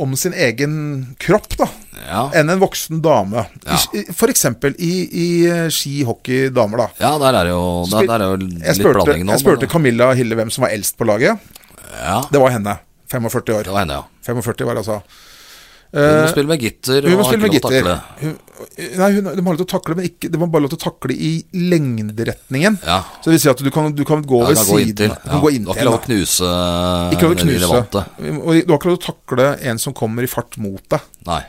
S2: om sin egen kropp, da.
S1: Ja.
S2: enn en voksen dame.
S1: Ja.
S2: I- i- For eksempel i, i eh, ski, hockey, damer, da.
S1: Ja, der er jo, der, der er jo
S2: Jeg
S1: litt
S2: spurte,
S1: blanding nå.
S2: jeg spurte
S1: men-
S2: Camilla Hille hvem som var eldst på laget.
S1: Ja,
S2: Det var henne. 45 år.
S1: det var henne, ja.
S2: 45 var det, altså.
S1: Hun må
S2: Eh,
S1: spille med gitter.
S2: hun
S1: og
S2: må
S1: har
S2: spille med
S1: ikke lov til å
S2: gitter.
S1: takle.
S2: Hun, nei, hun, de har lov til å takle, men ikke, de har bare lov til å takle i lengderetningen.
S1: Ja.
S2: Så det vil si at du kan, du kan gå
S1: Ja,
S2: ved
S1: kan gå inntil.
S2: siden. Du
S1: Ja.
S2: kan gå
S1: Du
S2: inntil.
S1: har ikke lov å
S2: da.
S1: knuse
S2: Ikke lov å
S1: den
S2: knuse.
S1: relevante.
S2: Og du har ikke lov til å takle en som kommer i fart mot deg.
S1: Nei.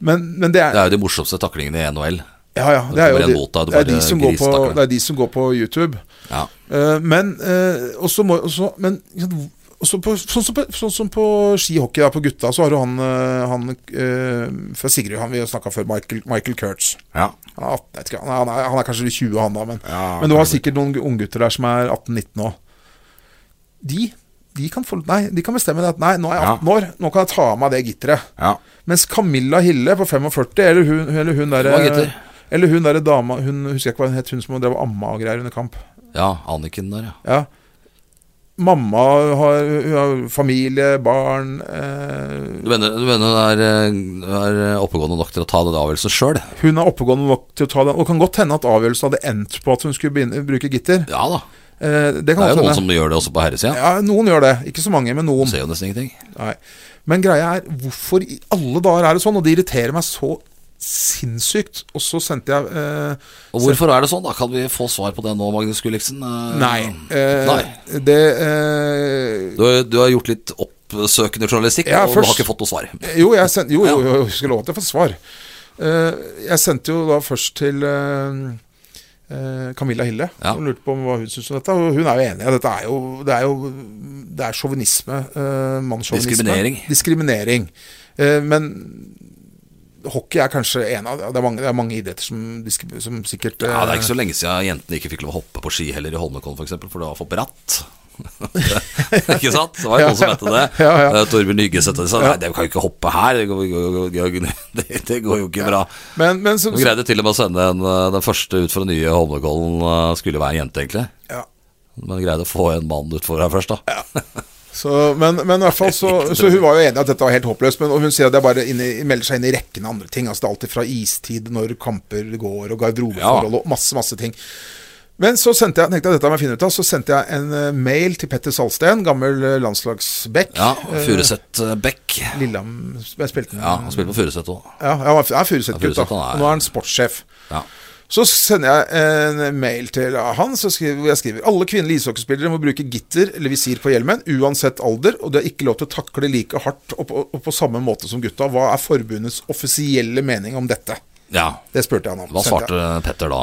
S2: Men, men det er
S1: Det er jo de morsomste taklingene i NHL.
S2: Ja, ja. Det
S1: Det
S2: er jo
S1: kommer en
S2: de,
S1: mot deg, du
S2: det er de
S1: bare
S2: som går på,
S1: grisetakler.
S2: det er de som går på YouTube.
S1: Ja.
S2: Eh, men eh, også må også, Men ikke sant, også på, sånn, som på, sånn som på skihockey, da, på gutta, så har du han, eh, han eh, fra Sigrud Han vi snakka før, Michael, Michael Kurtz.
S1: Ja.
S2: Han er, 18, jeg vet ikke, han, er, han, er, han er kanskje 20, han da, men,
S1: Ja,
S2: men du har
S1: kanskje.
S2: sikkert noen unggutter der som er 18-19 òg. De, de, kan få- nei, de kan bestemme det at Nei, nå er jeg
S1: Ja.
S2: 18 år, nå kan jeg ta av meg det gitteret.
S1: ja.
S2: Mens Camilla Hille på 45, eller hun, eller hun
S1: Hva heter?
S2: der Eller hun der dama Hun husker jeg ikke hva hun het, hun som drev og amma og greier under kamp.
S1: Ja, Anniken der, ja.
S2: Ja. Mamma har, hun har familie, barn eh,
S1: Du mener, du mener hun er, eh, er oppegående nok til å ta den avgjørelsen sjøl?
S2: Hun er oppegående nok til å ta den. Og det kan godt hende at avgjørelsen hadde endt på at hun skulle begynne, bruke gitter.
S1: Ja da.
S2: Eh, det
S1: Det
S2: kan
S1: er jo
S2: godt
S1: noen
S2: hende.
S1: som gjør det også på herresida.
S2: Ja, noen gjør det. Ikke så mange, men
S1: Du
S2: noen.
S1: ser jo nesten ingenting.
S2: Nei. Men greia er, hvorfor i alle dager er det sånn? Og det irriterer meg så sinnssykt. Og så sendte jeg eh,
S1: Og hvorfor er det sånn, da? Kan vi få svar på det nå, Magnus Gulliksen? Eh,
S2: Nei. Eh,
S1: Nei.
S2: Det eh,
S1: Du, har- du har gjort litt oppsøkende journalistikk,
S2: Ja,
S1: og du
S2: først-
S1: har ikke fått noe svar.
S2: Eh, Jo, jeg sendte, jo, jo, jo, jeg skulle love at jeg får svar. Eh, jeg sendte jo da først til eh, eh, Camilla Hille
S1: Ja.
S2: og lurte på om hva hun syntes om dette. Og hun er jo enig. Dette er jo, det er jo Det er sjåvinisme. Uh, Mannssjåvinisme.
S1: Diskriminering.
S2: Diskriminering. Eh, men hockey er kanskje en av Det er mange, det er mange idretter som, diskri- som sikkert
S1: Ja, Det er ikke så
S2: eh,
S1: lenge siden jentene ikke fikk lov å hoppe på ski heller i Holmenkollen f.eks., for, eksempel, for det var for bratt. ikke sant? Det var jo noen som mente det.
S2: Ja, ja.
S1: Eh, Torbjørn Hygge sa nei, det kan jo ikke hoppe her, det går, går- går- går- det, det går jo ikke bra.
S2: men, men som,
S1: De greide til og med å sende en, eh, den første ut fra nye Holmenkollen, eh, skulle være en jente, egentlig.
S2: ja.
S1: Men greide å få en mann utfor her først, da.
S2: Så, men, men i hvert fall så, så hun var jo enig i at dette var helt håpløst. Men og hun sier at det er bare inne, i- melder seg inn i rekken av andre ting. Altså Det er alltid fra istid, når kamper går, og garderobeforhold og masse, masse ting. Men så sendte jeg tenkte jeg, dette må jeg finne ut av Så sendte jeg en eh, mail til Petter Salsten, gammel eh, landslagsback.
S1: Ja,
S2: eh,
S1: Furuset eh, Beck.
S2: Lillehammer Jeg spilte den
S1: Ja, han spilte på Furuset òg.
S2: Ja, han var- han er Furuset-gutt, da.
S1: Furuset, han er-
S2: Og nå er han sportssjef.
S1: Ja.
S2: Så sender jeg en mail til han så skriver, hvor jeg skriver alle kvinnelige ishockeyspillere må bruke gitter eller visir på hjelmen, uansett alder, og de har ikke lov til å takle like hardt og på, og på samme måte som gutta. Hva er forbundets offisielle mening om dette?
S1: ja.
S2: Det spurte jeg han om.
S1: Hva
S2: Sendte jeg.
S1: svarte Petter da?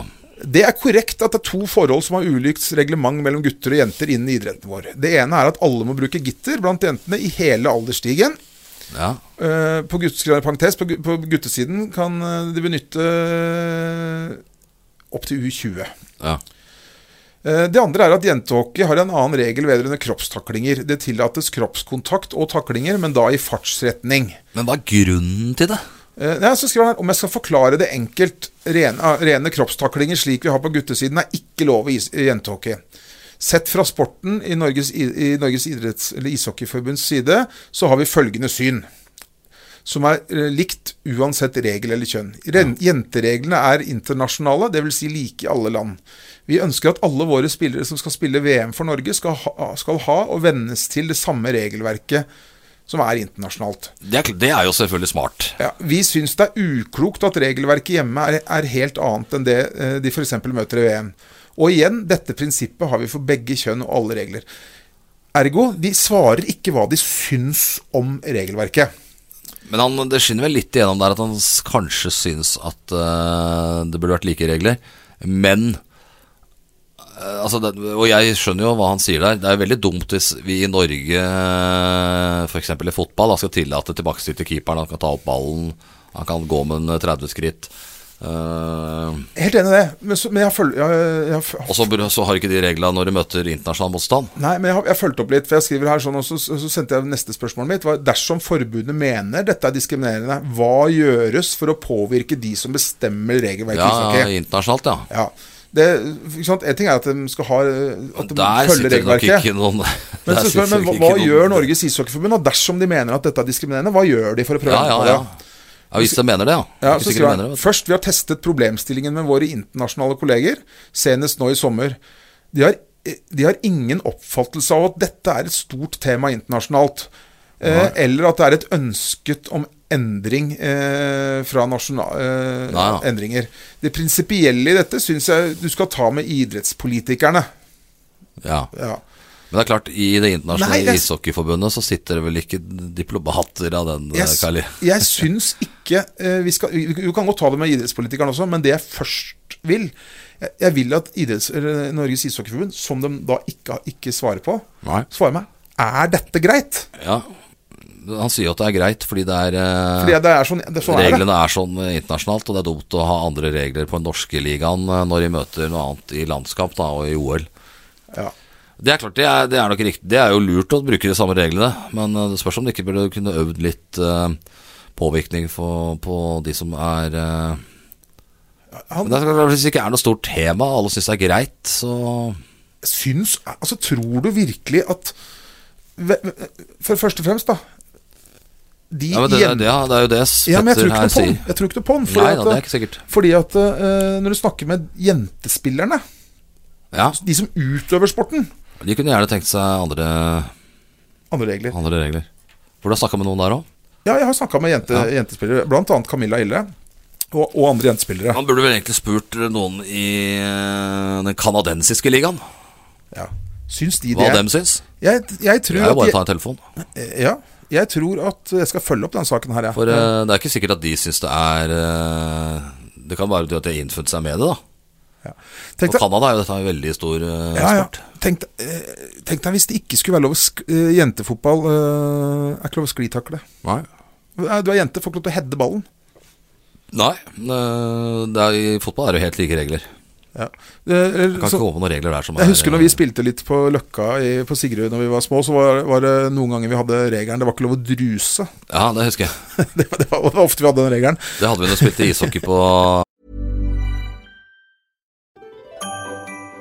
S2: Det er korrekt at det er to forhold som har ulikt reglement mellom gutter og jenter innen idretten vår. Det ene er at alle må bruke gitter blant jentene i hele aldersstigen.
S1: Ja,
S2: Eh, på, gutt, skrev jeg i parentes, på, gu- på guttesiden kan eh, de benytte eh, opp til U20.
S1: ja.
S2: Eh, Det andre er at jentehockey har en annen regel vedrørende kroppstaklinger. Det tillates kroppskontakt og taklinger, men da i fartsretning.
S1: Men hva er grunnen til det?
S2: Eh, Nei, så skriver han her, Om jeg skal forklare det enkelt, rene, ah, rene kroppstaklinger slik vi har på guttesiden, er ikke lov i is- i jentehockey. Sett fra sporten i Norges, i i Norges idretts- eller ishockeyforbunds side, så har vi følgende syn, som er eh, likt uansett regel eller kjønn. Ren, Jentereglene er internasjonale, dvs. Si like i alle land. Vi ønsker at alle våre spillere som skal spille VM for Norge, skal ha, skal ha og vennes til det samme regelverket som er internasjonalt.
S1: Det er, kl- det er jo selvfølgelig smart.
S2: Ja, vi syns det er uklokt at regelverket hjemme er, er helt annet enn det eh, de f.eks. møter i VM. Og igjen, dette prinsippet har vi for begge kjønn og alle regler. Ergo, de svarer ikke hva de syns om regelverket.
S1: Men han, det skinner vel litt igjennom der at han s- kanskje syns at eh, det burde vært like regler. Men eh, altså det, Og jeg skjønner jo hva han sier der. Det er veldig dumt hvis vi i Norge, eh, for eksempel i fotball, da, skal tillate tilbakeskudd til keeperen. Han kan ta opp ballen, han kan gå med en 30 skritt. Eh,
S2: Helt enig i det, men, så, men jeg følger jeg, jeg, har-
S1: og så, bur- så har ikke de reglene når de møter internasjonal motstand.
S2: Nei, men jeg, har- jeg fulgte opp litt, for jeg skriver her sånn, og så, så sendte jeg neste spørsmål mitt. Var, dersom forbundet mener dette er diskriminerende, hva gjøres for å påvirke de som bestemmer regelverket?
S1: Ja,
S2: i ishockey?
S1: ja, internasjonalt, ja.
S2: Ja. Det, ikke sant? En ting er at de skal ha eh, At de
S1: Der
S2: følger
S1: sitter det nok
S2: regelverket.
S1: ikke noen
S2: Men,
S1: der
S2: så spør, jeg,
S1: sitter
S2: men hva,
S1: nok
S2: hva
S1: ikke noen-
S2: gjør Norges ishockeyforbund? Og dersom de mener at dette er diskriminerende, hva gjør de for å prøve
S1: Ja, ja,
S2: å endre på
S1: ja.
S2: det?
S1: Ja, Hvis de mener det, ja. Det er
S2: Ja,
S1: ikke
S2: så
S1: sikkert de
S2: skriver
S1: mener det,
S2: han
S1: vet du.
S2: Først, vi har testet problemstillingen med våre internasjonale kolleger, senest nå i sommer. De har, de har ingen oppfattelse av at dette er et stort tema internasjonalt, eh, eller at det er et ønsket om endring eh, fra nasjonale eh,
S1: Nei, ja.
S2: endringer. Det prinsipielle i dette syns jeg du skal ta med idrettspolitikerne.
S1: ja.
S2: Ja.
S1: Men det er klart, i det internasjonale
S2: Nei, jeg-
S1: ishockeyforbundet så sitter det vel ikke diplomater av den,
S2: Jeg,
S1: yes. Kali.
S2: s- jeg syns ikke eh, vi, skal, vi, vi kan godt ta det med idrettspolitikerne også, men det jeg først vil Jeg, jeg vil at idretts, eller eh, Norges ishockeyforbund, som de da ikke, ikke svarer på,
S1: Nei.
S2: svarer meg Er dette greit?
S1: Ja. Han sier jo at det er greit, fordi det er eh,
S2: Fordi det er sånn, det er sånn er det.
S1: Reglene er sånn eh, internasjonalt, og det er dumt å ha andre regler på den norske ligaen eh, når de møter noe annet i landskamp da, og i OL.
S2: Ja.
S1: Det er klart, det er, det er nok riktig. Det er jo lurt å bruke de samme reglene, men eh, det spørs om de ikke burde kunne øvd litt eh, påvirkning for, på de som er eh,
S2: Han
S1: Men det er klart, Hvis det ikke er noe stort tema, alle syns det er greit, så
S2: syns Altså, tror du virkelig at ve- ve- For først og fremst, da De
S1: ja, men det,
S2: hjem-
S1: det, ja, det er jo det
S2: Ja, men
S1: Petter
S2: jeg tror ikke
S1: her
S2: noe på den.
S1: sier.
S2: Jeg tror ikke noe på den.
S1: Nei
S2: Fordi
S1: da,
S2: at,
S1: det er ikke sikkert.
S2: fordi at eh, når du snakker med jentespillerne
S1: Ja,
S2: de som utøver sporten.
S1: De kunne gjerne tenkt seg andre,
S2: Andre regler.
S1: andre regler. For du har snakka med noen der òg?
S2: Ja, jeg har snakka med jente, jentespillere, bl.a. Camilla Ille. Og, og andre jentespillere.
S1: Han burde vel egentlig spurt noen i eh, den kanadensiske ligaen
S2: Ja. Syns de
S1: hva
S2: det?
S1: dem syns.
S2: Jeg, jeg, tror
S1: Det er jo bare å
S2: at
S1: ta en telefon.
S2: jeg, ja, jeg tror at Jeg skal følge opp den saken her, jeg.
S1: For eh, det er ikke sikkert at de syns det er eh, Det kan være at de har innfunnet seg med det, da.
S2: Tenk
S1: Og
S2: deg-
S1: Canada er jo dette en veldig stor eh,
S2: ja, ja.
S1: sport.
S2: Tenk, deg- eh, tenk deg hvis det ikke skulle være lov å sk eh, Jentefotball eh, er ikke lov å sklitakle.
S1: Nei.
S2: Eh, Du er jente, får ikke lov til å heade ballen.
S1: Nei eh, det er, I fotball er det jo helt like regler.
S2: Ja. Eh, eller
S1: Det kan
S2: så-
S1: ikke gå på noen regler der som
S2: Jeg husker
S1: er
S2: når vi spilte litt på Løkka i, på Sigrud når vi var små, så var, var det noen ganger vi hadde regelen det var ikke lov å druse.
S1: Ja, det husker jeg.
S2: det, var, det, var, det var ofte vi hadde den regelen.
S1: Det hadde vi da vi spilte ishockey på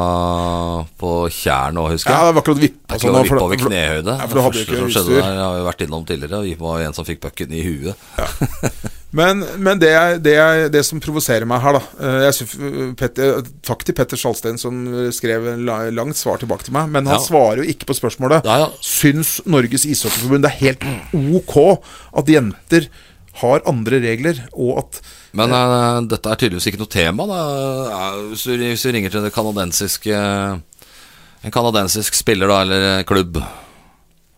S1: eh, På Tjern òg,
S2: Ja,
S1: husker jeg.
S2: det var ikke lov å vippe.
S1: Jeg
S2: og sånn,
S1: klarte å
S2: for-
S1: vippe over
S2: for-
S1: knehøyde.
S2: Ja,
S1: det
S2: for du hadde jo
S1: første
S2: ikke
S1: som skjedde
S2: utstyr.
S1: der, jeg har jo vært innom tidligere. Vi var en som fikk pucken i huet.
S2: Men, men det, er, det, er, det som provoserer meg her, da eh, jeg, syf- Petter, eh, Takk til Petter Sjalsten som skrev en la- langt svar tilbake til meg, men han
S1: Ja.
S2: svarer jo ikke på spørsmålet.
S1: Nei, ja.
S2: Syns Norges ishockeyforbund det er helt ok at jenter har andre regler, og at
S1: Men eh, dette er tydeligvis ikke noe tema. Da. Eh, Hvis, du, hvis du ringer til det kanadensiske En kanadensisk spiller da, eller eh, klubb og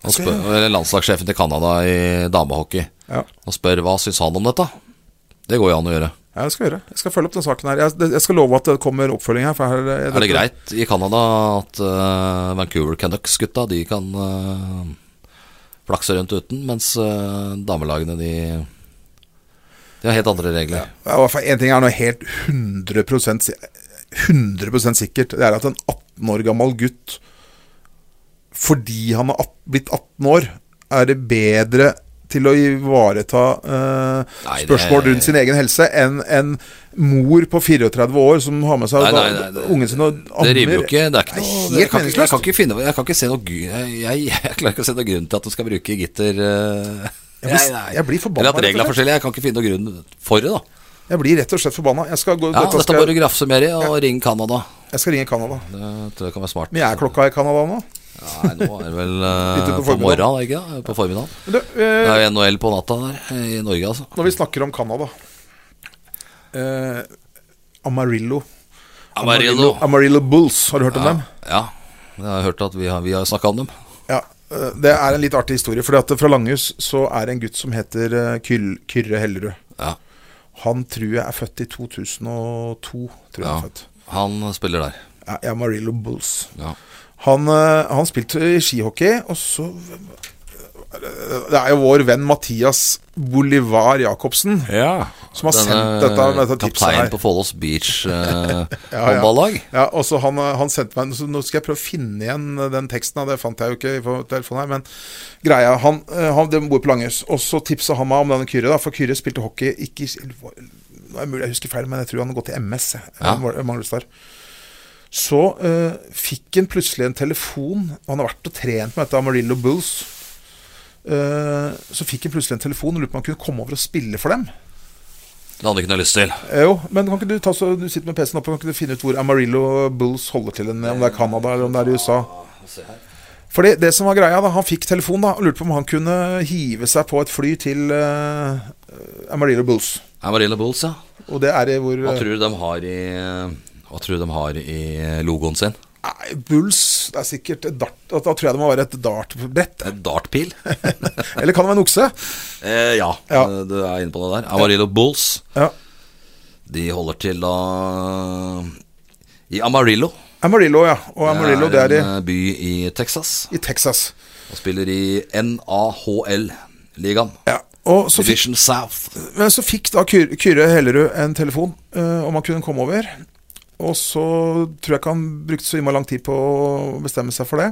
S2: Ok,
S1: spør, Eller landslagssjefen til Canada i damehockey
S2: Ja.
S1: og spør hva syns han om dette. Det går jo an å gjøre.
S2: Ja, jeg skal gjøre. Jeg skal følge opp den saken her. Jeg, det- jeg skal love at det kommer oppfølging her. For her
S1: Er det greit i Canada at eh, Vancouver Canucks-gutta De kan eh, flakse rundt uten, mens eh, damelagene de De har helt andre regler.
S2: Ja, i hvert fall en ting er nå helt 100, si- 100 sikkert. Det er at en 18 år gammel gutt, fordi han har at- blitt 18 år, er det bedre til å ivareta eh,
S1: Nei, det-
S2: spørsmål rundt sin egen helse enn en mor på 34 år som har med seg
S1: Nei, nei, nei,
S2: da-
S1: det-
S2: ungen sin og
S1: Det rimer jo ikke. Det er ikke
S2: Det er
S1: noe, jeg,
S2: helt
S1: kan, ikke- jeg, kan
S2: meningsløst.
S1: ikke finne, jeg kan ikke se noe gru- jeg, jeg, jeg klarer ikke å se noen grunn til at du skal bruke gitter eh,
S2: Jeg blir- jeg blir forbanna,
S1: Eller at
S2: rett
S1: reglene
S2: og
S1: er
S2: slett.
S1: forskjellige. Jeg kan ikke finne noen grunn for det, da.
S2: Jeg blir rett og slett forbanna. Jeg skal, gå,
S1: Ja,
S2: dette
S1: dette
S2: skal,
S1: må du grafse mer i, og ring Canada.
S2: jeg skal ringe Canada.
S1: Det tror jeg kan være smart.
S2: Men jeg er klokka i Canada nå.
S1: Nei, nå er det vel eh,
S2: Litt ut på
S1: på
S2: formiddagen.
S1: morgenen, er det ikke det? På formiddagen.
S2: Men du, eh,
S1: Det er jo NHL på natta der, i Norge, altså.
S2: Når vi snakker om Canada eh, Amarillo.
S1: Amarillo.
S2: Amarillo Bulls, har du hørt om dem?
S1: Ja. Jeg har hørt at vi har, vi har snakka om dem.
S2: Ja. eh, Det er en litt artig historie. Fordi at Fra Langhus så er det en gutt som heter eh, Kyll, Kyrre Hellerud.
S1: Ja.
S2: Han tror jeg er født i 2002. Tror jeg
S1: ja.
S2: han er født
S1: Han spiller der.
S2: ja, i Amarillo Bulls.
S1: Ja.
S2: Han, eh, han spilte i skihockey, og så eh, Det er jo vår venn Mathias Bolivar Jacobsen. som har sendt dette, dette tipset
S1: kapteinen
S2: her.
S1: på Follos Beach eh,
S2: Ja, ja.
S1: håndballag.
S2: Ja, og så han, eh, han sendte meg så Nå skal jeg prøve å finne igjen eh, den teksten, da, det fant jeg jo ikke på telefonen her, men greia Han, eh, han den bor på Langhus, og så tipsa han meg om denne Kyrre, da, for Kyrre spilte hockey ikke i- eller hva- Nå er det mulig jeg husker feil, men jeg tror han har gått til MS. jeg,
S1: Ja.
S2: Mang- Manglestad. Så eh, fikk han plutselig en telefon Han har vært og trent med dette Amarillo Bulls. Eh, så fikk han plutselig en telefon og lurte på om han kunne komme over og spille for dem.
S1: Det hadde jeg ikke noe lyst til.
S2: Eh, Jo, men kan ikke du ta så Du sitter med PC-en oppe, kan ikke du finne ut hvor Amarillo Bulls holder til? en- Om det er Canada, eller om det er i USA? Fordi det som var greia da, Han fikk telefon da, og lurte på om han kunne hive seg på et fly til eh, Amarillo Bulls.
S1: Amarillo Bulls, ja.
S2: Og det er i hvor
S1: Hva
S2: eh,
S1: tror du de har i Hva tror du de har i logoen sin?
S2: eh, nei, Bulls Det er sikkert et dart Da da tror jeg det må være et dartbrett.
S1: En dartpil?
S2: Eller kan det være en okse?
S1: eh, ja,
S2: Ja.
S1: eh, du er inne på det der. Amarillo Bulls.
S2: Ja.
S1: De holder til da i Amarillo.
S2: Amarillo, ja. Og Amarillo, det er i,
S1: en eh, by i Texas.
S2: i Texas.
S1: Og spiller i NAHL-ligaen.
S2: Ja. Og så fikk
S1: Division South.
S2: Men så fikk da Kyr- Kyrre Hellerud en telefon eh, om han kunne komme over. Og så tror jeg ikke han brukte så innmari lang tid på å bestemme seg for det.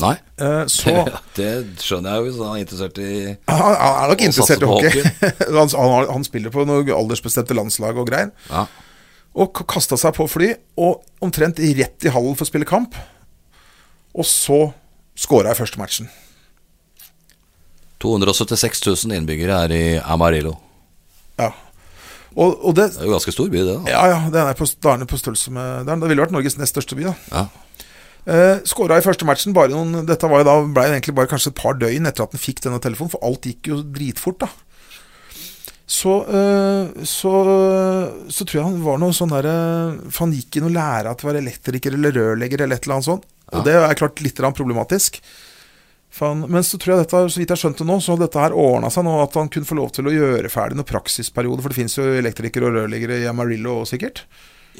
S1: Nei,
S2: Eh, så han,
S1: det skjønner jeg jo, så han er interessert i
S2: han er nok
S1: Og
S2: interessert
S1: satse
S2: i
S1: på
S2: hockey. han, han, har- han spiller på noen aldersbestemte landslag og greier.
S1: Ja,
S2: Og kasta seg på fly, og omtrent rett i hallen for å spille kamp. Og så skåra jeg første matchen.
S1: 276 000 innbyggere er i Amarillo.
S2: Ja. Og, og det
S1: Det er jo ganske stor by, det. da
S2: Ja, ja, den er på, da er den på størrelse med Det ville vært Norges nest største by, da.
S1: Ja.
S2: Eh, Skåra i første matchen bare noen Dette var jo da, ble det egentlig bare kanskje et par døgn etter at han fikk denne telefonen, for alt gikk jo dritfort, da. Så, eh, så, så tror jeg han var noe sånn derre For han gikk i noe lære at det var elektriker eller rørlegger eller et eller annet sånt. Og det er klart litt grann problematisk. For han, men så tror jeg dette, så vidt jeg skjønte nå, så hadde dette her ordna seg nå, at han kunne få lov til å gjøre ferdig noen praksisperiode, for det fins jo elektrikere og rørleggere i Amarillo også, sikkert.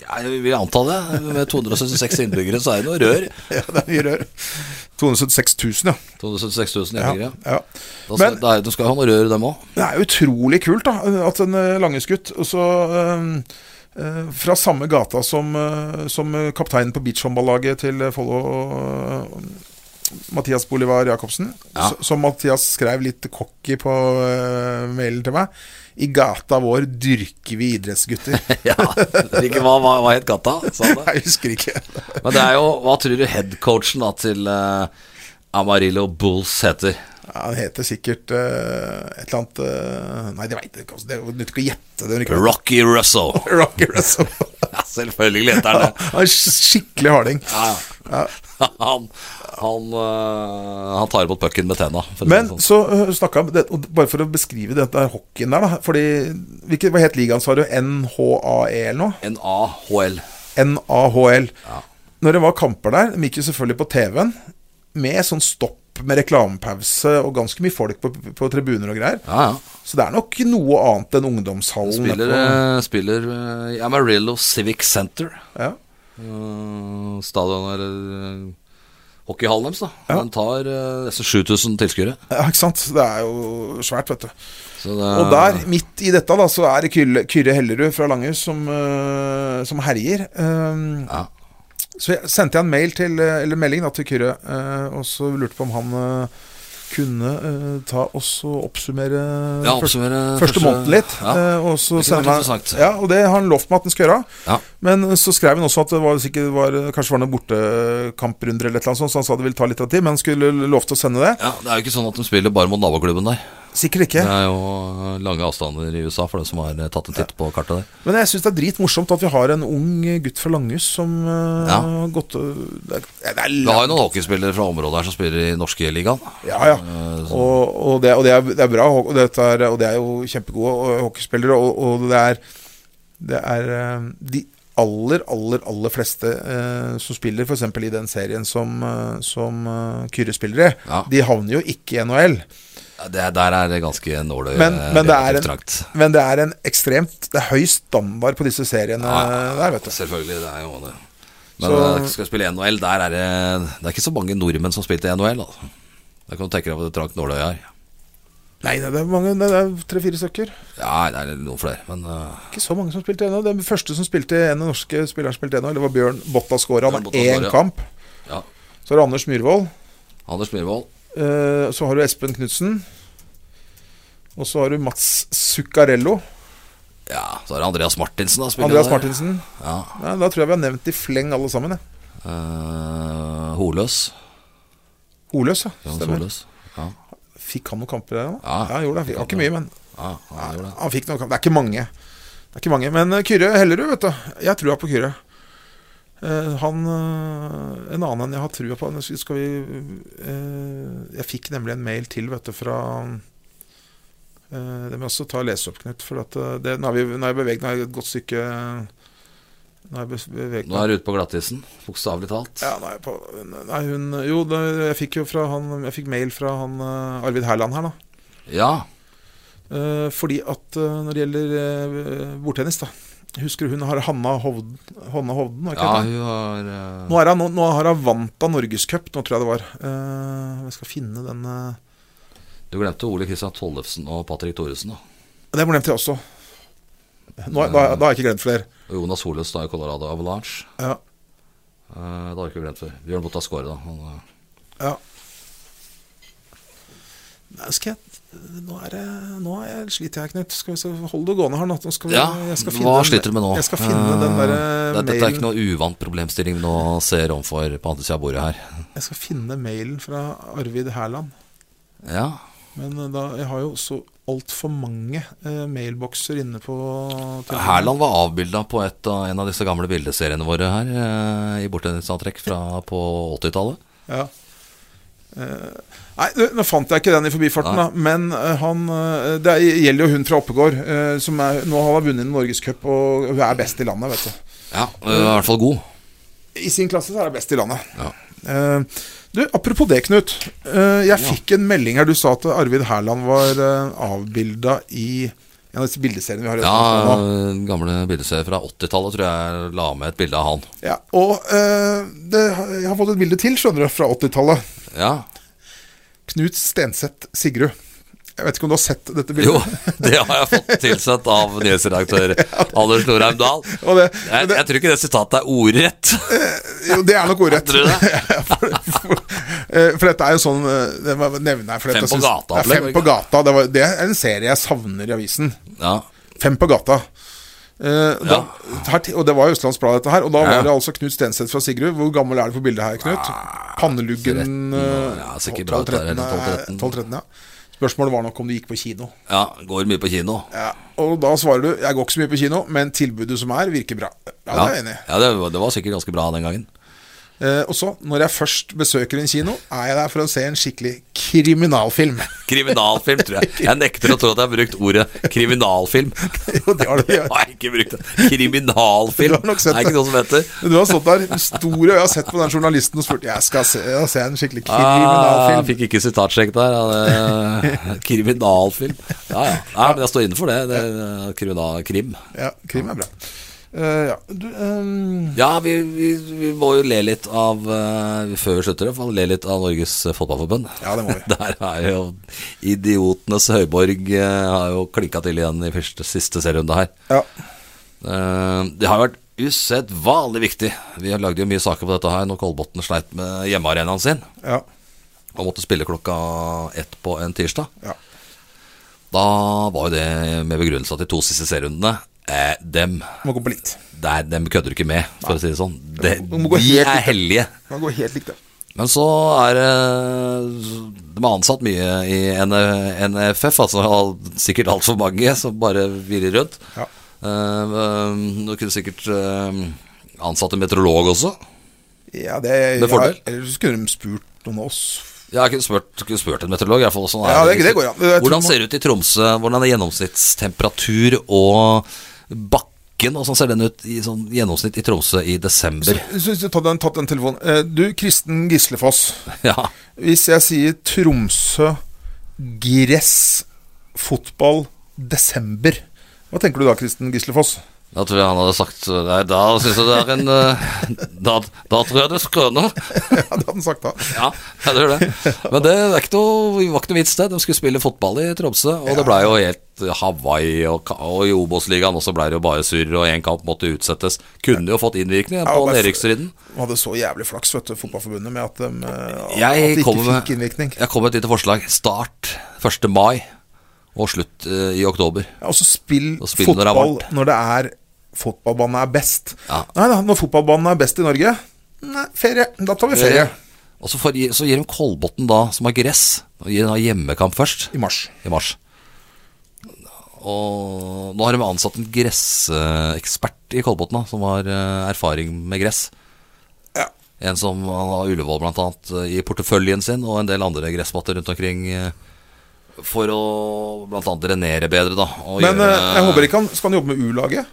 S1: Ja, jeg vil anta det. Med 276 innbyggere så er det noe rør.
S2: Ja, det er mye rør. 276 000, ja.
S1: 276 000
S2: ja,
S1: innbyggere.
S2: ja.
S1: Da skal,
S2: Men-
S1: da er- de skal jo ha noe rør, dem òg.
S2: Det er utrolig kult da, at en eh, langhusgutt og så, eh, eh, fra samme gata som, eh, som eh, kapteinen på beachhåndballaget til eh, Follo, eh, Mathias Bolivar Jacobsen,
S1: Ja.
S2: s- som Mathias skrev litt cocky på eh, mailen til meg. I gata vår dyrker vi idrettsgutter.
S1: Ja, ikke hva, hva, hva het gata? Sa han det?
S2: Jeg husker ikke.
S1: Men det er jo Hva tror du headcoachen da til eh, Amarillo Bulls heter?
S2: Ja, han heter sikkert eh, et eller annet eh, Nei, det veit jeg ikke. altså. Det nytter ikke å gjette. det er ikke-
S1: Rocky Russo.
S2: Rocky Russell.
S1: Ja, selvfølgelig heter han det.
S2: Han er sk- skikkelig harding.
S1: Ja, ja. Han, han, eh, han tar imot pucken med tenna. for å si det
S2: Men
S1: sånn.
S2: så uh, snakka jeg om det- og Bare for å beskrive dette her hockeyen der, da. Fordi, hvilke, hva het ligaen, sa du? NHAE E eller noe?
S1: NAHL.
S2: NAHL.
S1: Ja.
S2: Når det var kamper der, de gikk jo selvfølgelig på TV-en med sånn stopp med reklamepause og ganske mye folk på, på tribuner og greier.
S1: Ja, ja.
S2: Så det er nok noe annet enn ungdomshallen.
S1: Spiller,
S2: nedpå-
S1: eh, spiller eh, i Amarillo Civic Center.
S2: ja.
S1: Eh, Stadion eller eh, hockeyhallen deres, da. Den tar eh, nesten 7000 tilskuere.
S2: ja, ikke sant. Det er jo svært, vet du.
S1: Så det-
S2: Og der, midt i dette, da, så er det Kyrre, Kyrre Hellerud fra Langhus som, eh, som herjer. Eh,
S1: Ja.
S2: Så jeg sendte jeg en mail til, eh, eller melding da, til Kyrre, eh, og så lurte på om han eh, kunne eh, ta og så oppsummere
S1: Ja,
S2: første,
S1: oppsummere
S2: første måneden litt.
S1: Ja.
S2: eh, og så
S1: Det kunne vært
S2: sende meg,
S1: interessant.
S2: ja, og det har han lovt meg at han skal gjøre.
S1: Ja.
S2: Men eh, så skrev han også at det var, sikkert var, eh, kanskje var noen bortekamprunder eller et eller annet sånt, så han sa det ville ta litt av tid, men han skulle lovt å sende det.
S1: ja, Det er jo ikke sånn at de spiller bare mot naboklubben der.
S2: Sikkert ikke.
S1: Det er jo eh, lange avstander i USA for de som har eh, tatt en titt på kartet der.
S2: Men jeg syns det er dritmorsomt at vi har en ung gutt fra Langhus som eh,
S1: Ja.
S2: har gått og Det er, det er
S1: Vi har jo noen hockeyspillere fra området her som spiller i norske ligaen.
S2: Ja, ja.
S1: Eh,
S2: Og, og, det, og det, er, det er bra, og, dette er, og det er jo kjempegode og- hockeyspillere. Og, og det er, det er eh, de aller, aller, aller fleste eh, som spiller f.eks. i den serien som, eh, som eh, Kyrre spiller i,
S1: Ja.
S2: de havner jo ikke i NHL.
S1: Det, der er det ganske nåløy.
S2: Men,
S1: eh,
S2: men, det er
S1: relativt
S2: en,
S1: trangt.
S2: men det er en ekstremt Det er høy standard på disse seriene der, vet du.
S1: Selvfølgelig, det er jo det. Men
S2: Så-
S1: eh, skal du spille i NHL, der er det altså. Det er ikke så mange nordmenn som spilte i NHL. Da. Der kan du tenke deg hvor trangt nåløyet er.
S2: Nei, det er mange, det er tre-fire stykker.
S1: Ja, det er noen flere, men eh,
S2: Ikke så mange som spilte ennå. Den første som spilte en av norske spilleren spilte ennå, det var Bjørn Bottas Skåra.
S1: Bjørn
S2: Han har
S1: Bottas Skåra,
S2: én
S1: ja.
S2: kamp.
S1: ja.
S2: Så er det Anders Myhrvold.
S1: Anders Myhrvold.
S2: Eh, Så har du Espen Knutsen. Og så har du Mats Zuccarello.
S1: Ja, så er det Andreas Martinsen, da. spiller
S2: Andreas
S1: der.
S2: Martinsen.
S1: Ja.
S2: Nei, da tror jeg vi har nevnt i fleng alle sammen. jeg.
S1: Eh, Holøs.
S2: Holøs, ja.
S1: Johannes
S2: Stemmer.
S1: Holøs. Ja.
S2: Fikk han noen kamper der? da?
S1: Ja.
S2: ja han gjorde det. Han fikk- Han var ikke mye, men
S1: Ja, han gjorde det.
S2: han fikk noen kamper. Det er ikke mange. Det er ikke mange. Men eh, Kyrre Hellerud, vet du. Jeg har trua på Kyrre. Eh, han eh, En annen enn jeg har trua på Nå skal skal vi eh, Jeg fikk nemlig en mail til, vet du, fra eh, Det må jeg også ta og lese opp, Knut. For at eh, det, nå er vi nå er jeg beveget meg et godt stykke Nå er jeg be- beveget
S1: Nå er du ute på glattisen, bokstavelig talt.
S2: Ja, nei, på, nei, hun Jo, det, jeg fikk jo fra han Jeg fikk mail fra han eh, Arvid Herland her, da.
S1: Ja.
S2: Eh, fordi at eh, når det gjelder eh, bordtennis, da Husker du hun har Hanna Hovden? Hanna Hovden var
S1: Ja,
S2: ikke det?
S1: hun har eh,
S2: Nå, er hun, nå, nå har hun vant av Norgescup, nå tror jeg det var. Eh, jeg skal finne den eh.
S1: Du glemte Ole Kristian Tollefsen og Patrick Thoresen, da.
S2: Det glemte jeg også. Nå, da, da har jeg ikke glemt flere.
S1: Og Jonas Holøs da i Colorado Avalanche.
S2: Ja,
S1: Eh, det har du ikke glemt før. Bjørn Bottas Skåre, da. Han, eh,
S2: ja. Nei, skal jeg Nå, er det, nå er jeg, sliter jeg, Knut. Skal vi se, Hold det gående her nå. nå skal vi,
S1: ja,
S2: jeg skal
S1: hva
S2: den-
S1: sliter du med nå?
S2: Jeg skal finne den
S1: Eh,
S2: derre
S1: det, Dette er ikke
S2: mailen
S1: noe uvant problemstilling vi nå ser overfor på andre sida av bordet her.
S2: Jeg skal finne mailen fra Arvid Herland.
S1: Ja,
S2: Men eh, da, jeg har jo så altfor mange eh, mailbokser inne på telefonen.
S1: Herland var avbilda på et, av- en av disse gamle bildeseriene våre her eh, i bortennisantrekk fra på 80-tallet.
S2: Ja. Eh, nei, du, nå fant jeg ikke den i forbifarten,
S1: Nei.
S2: da. Men eh, han eh, Det er- gjelder jo hun fra Oppegård, eh, som er, nå har hun vunnet Norgescup, og hun er best i landet, vet du.
S1: Ja, eh, i hvert fall god.
S2: I sin klasse så er hun best i landet.
S1: Ja.
S2: Eh, du, apropos det, Knut. Eh, jeg
S1: Ja.
S2: fikk en melding her. Du sa at Arvid Herland var uh, avbilda i en av disse bildeseriene vi har i
S1: Ja,
S2: nå.
S1: eh, gamle bildeserier fra 80-tallet tror jeg la med et bilde av han.
S2: Ja, og eh, det, jeg har fått et bilde til, skjønner du, fra 80-tallet.
S1: Ja,
S2: Knut Stenseth Sigrud. Jeg vet ikke om du har sett dette bildet?
S1: Jo, det har jeg fått tilsendt av nyhetsredaktør Anders Norheim Dahl.
S2: Og det,
S1: Jeg, jeg tror ikke det sitatet er ordrett.
S2: jo, det er nok ordrett.
S1: Tror du det?
S2: for, for, eh, for dette er jo sånn eh, Det må jeg nevne her. For dette
S1: Fem på
S2: syns-
S1: gata,
S2: Ja, fem
S1: opplegg,
S2: på gata. Det, var, det er en serie jeg savner i avisen.
S1: Ja,
S2: Fem på gata. Eh, da,
S1: Ja.
S2: her, til- og Det var Østlands Blad, dette her. Og da
S1: Ja.
S2: var det altså Knut Stenseth fra Sigrud. Hvor gammel er du på bildet her, Knut? Panneluggen
S1: 13,
S2: eh,
S1: Ah, ja, sikkert bra ut der,
S2: 12-13,
S1: 12-13.
S2: eh, 12-13, ja. Spørsmålet var nok om du gikk på kino.
S1: ja går mye på kino.
S2: Ja, og da svarer du Jeg går ikke så mye på kino, men tilbudet som er, virker bra. Ja, det er jeg enig i.
S1: ja det, var- det var sikkert ganske bra den gangen.
S2: Eh, og så, når jeg først besøker en kino, er jeg der for å se en skikkelig kriminalfilm.
S1: Kriminalfilm, tror jeg. Jeg nekter å tro at jeg har brukt ordet kriminalfilm.
S2: jo, det har du.
S1: Jeg har ikke brukt det. Kriminalfilm.
S2: Du har nok sett
S1: det er ikke
S2: det.
S1: noe som heter.
S2: Men du har stått der, stor og jeg har sett på den journalisten og spurt Jeg skal se, jeg skal se en skikkelig
S1: Ah, jeg
S2: kriminalfilm.
S1: fikk ikke sitatsjekk der. Ja, det, kriminalfilm. Ja, ja. Nei, men jeg står inne for det. det er eh, kriminal, krim.
S2: Ja, krim er bra. Eh, ja, du ehm,
S1: Ja, vi, vi, vi må jo le litt av eh, Før vi slutter, i hvert fall. Le litt av Norges Fotballforbund.
S2: Ja, det må vi.
S1: Der er jo idiotenes høyborg eh, Har jo klinka til igjen i første, siste serierunde her.
S2: Ja.
S1: Eh, Det har vært usedvanlig viktig. Vi har lagd jo mye saker på dette her når Kolbotn sleit med hjemmearenaen sin
S2: Ja.
S1: og måtte spille klokka ett på en tirsdag.
S2: Ja.
S1: Da var jo det med begrunnelse at de to siste serierundene eh, dem,
S2: Må gå på likt.
S1: der, dem kødder du ikke med, for å si det sånn. De,
S2: Du må gå
S1: de
S2: helt
S1: er
S2: ut.
S1: hellige.
S2: Må gå helt likt, det.
S1: Men så er det De har ansatt mye i N- NFF, altså og sikkert altfor mange som bare virrer rundt.
S2: Ja.
S1: Eh, eh, Du kunne sikkert eh, ansatt en meteorolog også.
S2: Ja, det,
S1: Med fordel.
S2: Ja, eller så kunne de spurt noen av oss.
S1: Ja, Jeg kunne spurt, kunne spurt en meteorolog. i hvert fall, sånn
S2: Ja,
S1: er
S2: det- det går, ja. Jeg tror
S1: Hvordan
S2: man-
S1: ser det ut i Tromsø? Hvordan er gjennomsnittstemperatur og bakken? Hvordan ser den ut i sånn gjennomsnitt i Tromsø i desember?
S2: Så, så, ta den, tatt den telefonen. Eh, du, Kristen Gislefoss.
S1: Ja,
S2: Hvis jeg sier Tromsø, gress, fotball, desember Hva tenker du da, Kristen Gislefoss?
S1: Da tror jeg han hadde sagt Nei, da syns jeg det er en eh, Da, da tror jeg det skrøner.
S2: Ja, det hadde han sagt da.
S1: Ja, jeg tror det. Men det er ikke noe, det var ikke noe vits, det. De skulle spille fotball i Tromsø, og det blei jo helt Hawaii og, ka- og i Obos-ligaen også blei det jo bare surr, og én kamp måtte utsettes. Kunne jo fått innvirkning
S2: Ja,
S1: på
S2: og bare-
S1: nedrykksstriden.
S2: De hadde så jævlig flaks, vet du, Fotballforbundet, med at de, eh, at
S1: Jeg
S2: de ikke
S1: kommer med-
S2: fikk innvirkning.
S1: Jeg kom med et lite forslag. Start 1. mai og slutt eh, i oktober.
S2: Ja, Og så spill
S1: Og spill når det er
S2: fotball
S1: varmt.
S2: når det er fotballbanen er best.
S1: Ja.
S2: Nei da, når fotballbanen er best i Norge Nei, ferie. Da tar vi ferie.
S1: Eh, Og så, får, så gir de Kolbotn, da, som har gress, og gir de da hjemmekamp først.
S2: I mars.
S1: i mars. Og nå har de ansatt en gressekspert i Kolbotn, da, som har eh, erfaring med gress.
S2: Ja.
S1: En som har Ullevål blant annet eh, i porteføljen sin, og en del andre gressmatter rundt omkring. eh, For å blant annet drenere bedre, da. Og
S2: Men
S1: gjøre-
S2: eh, jeg håper ikke han Skal han jobbe med U-laget?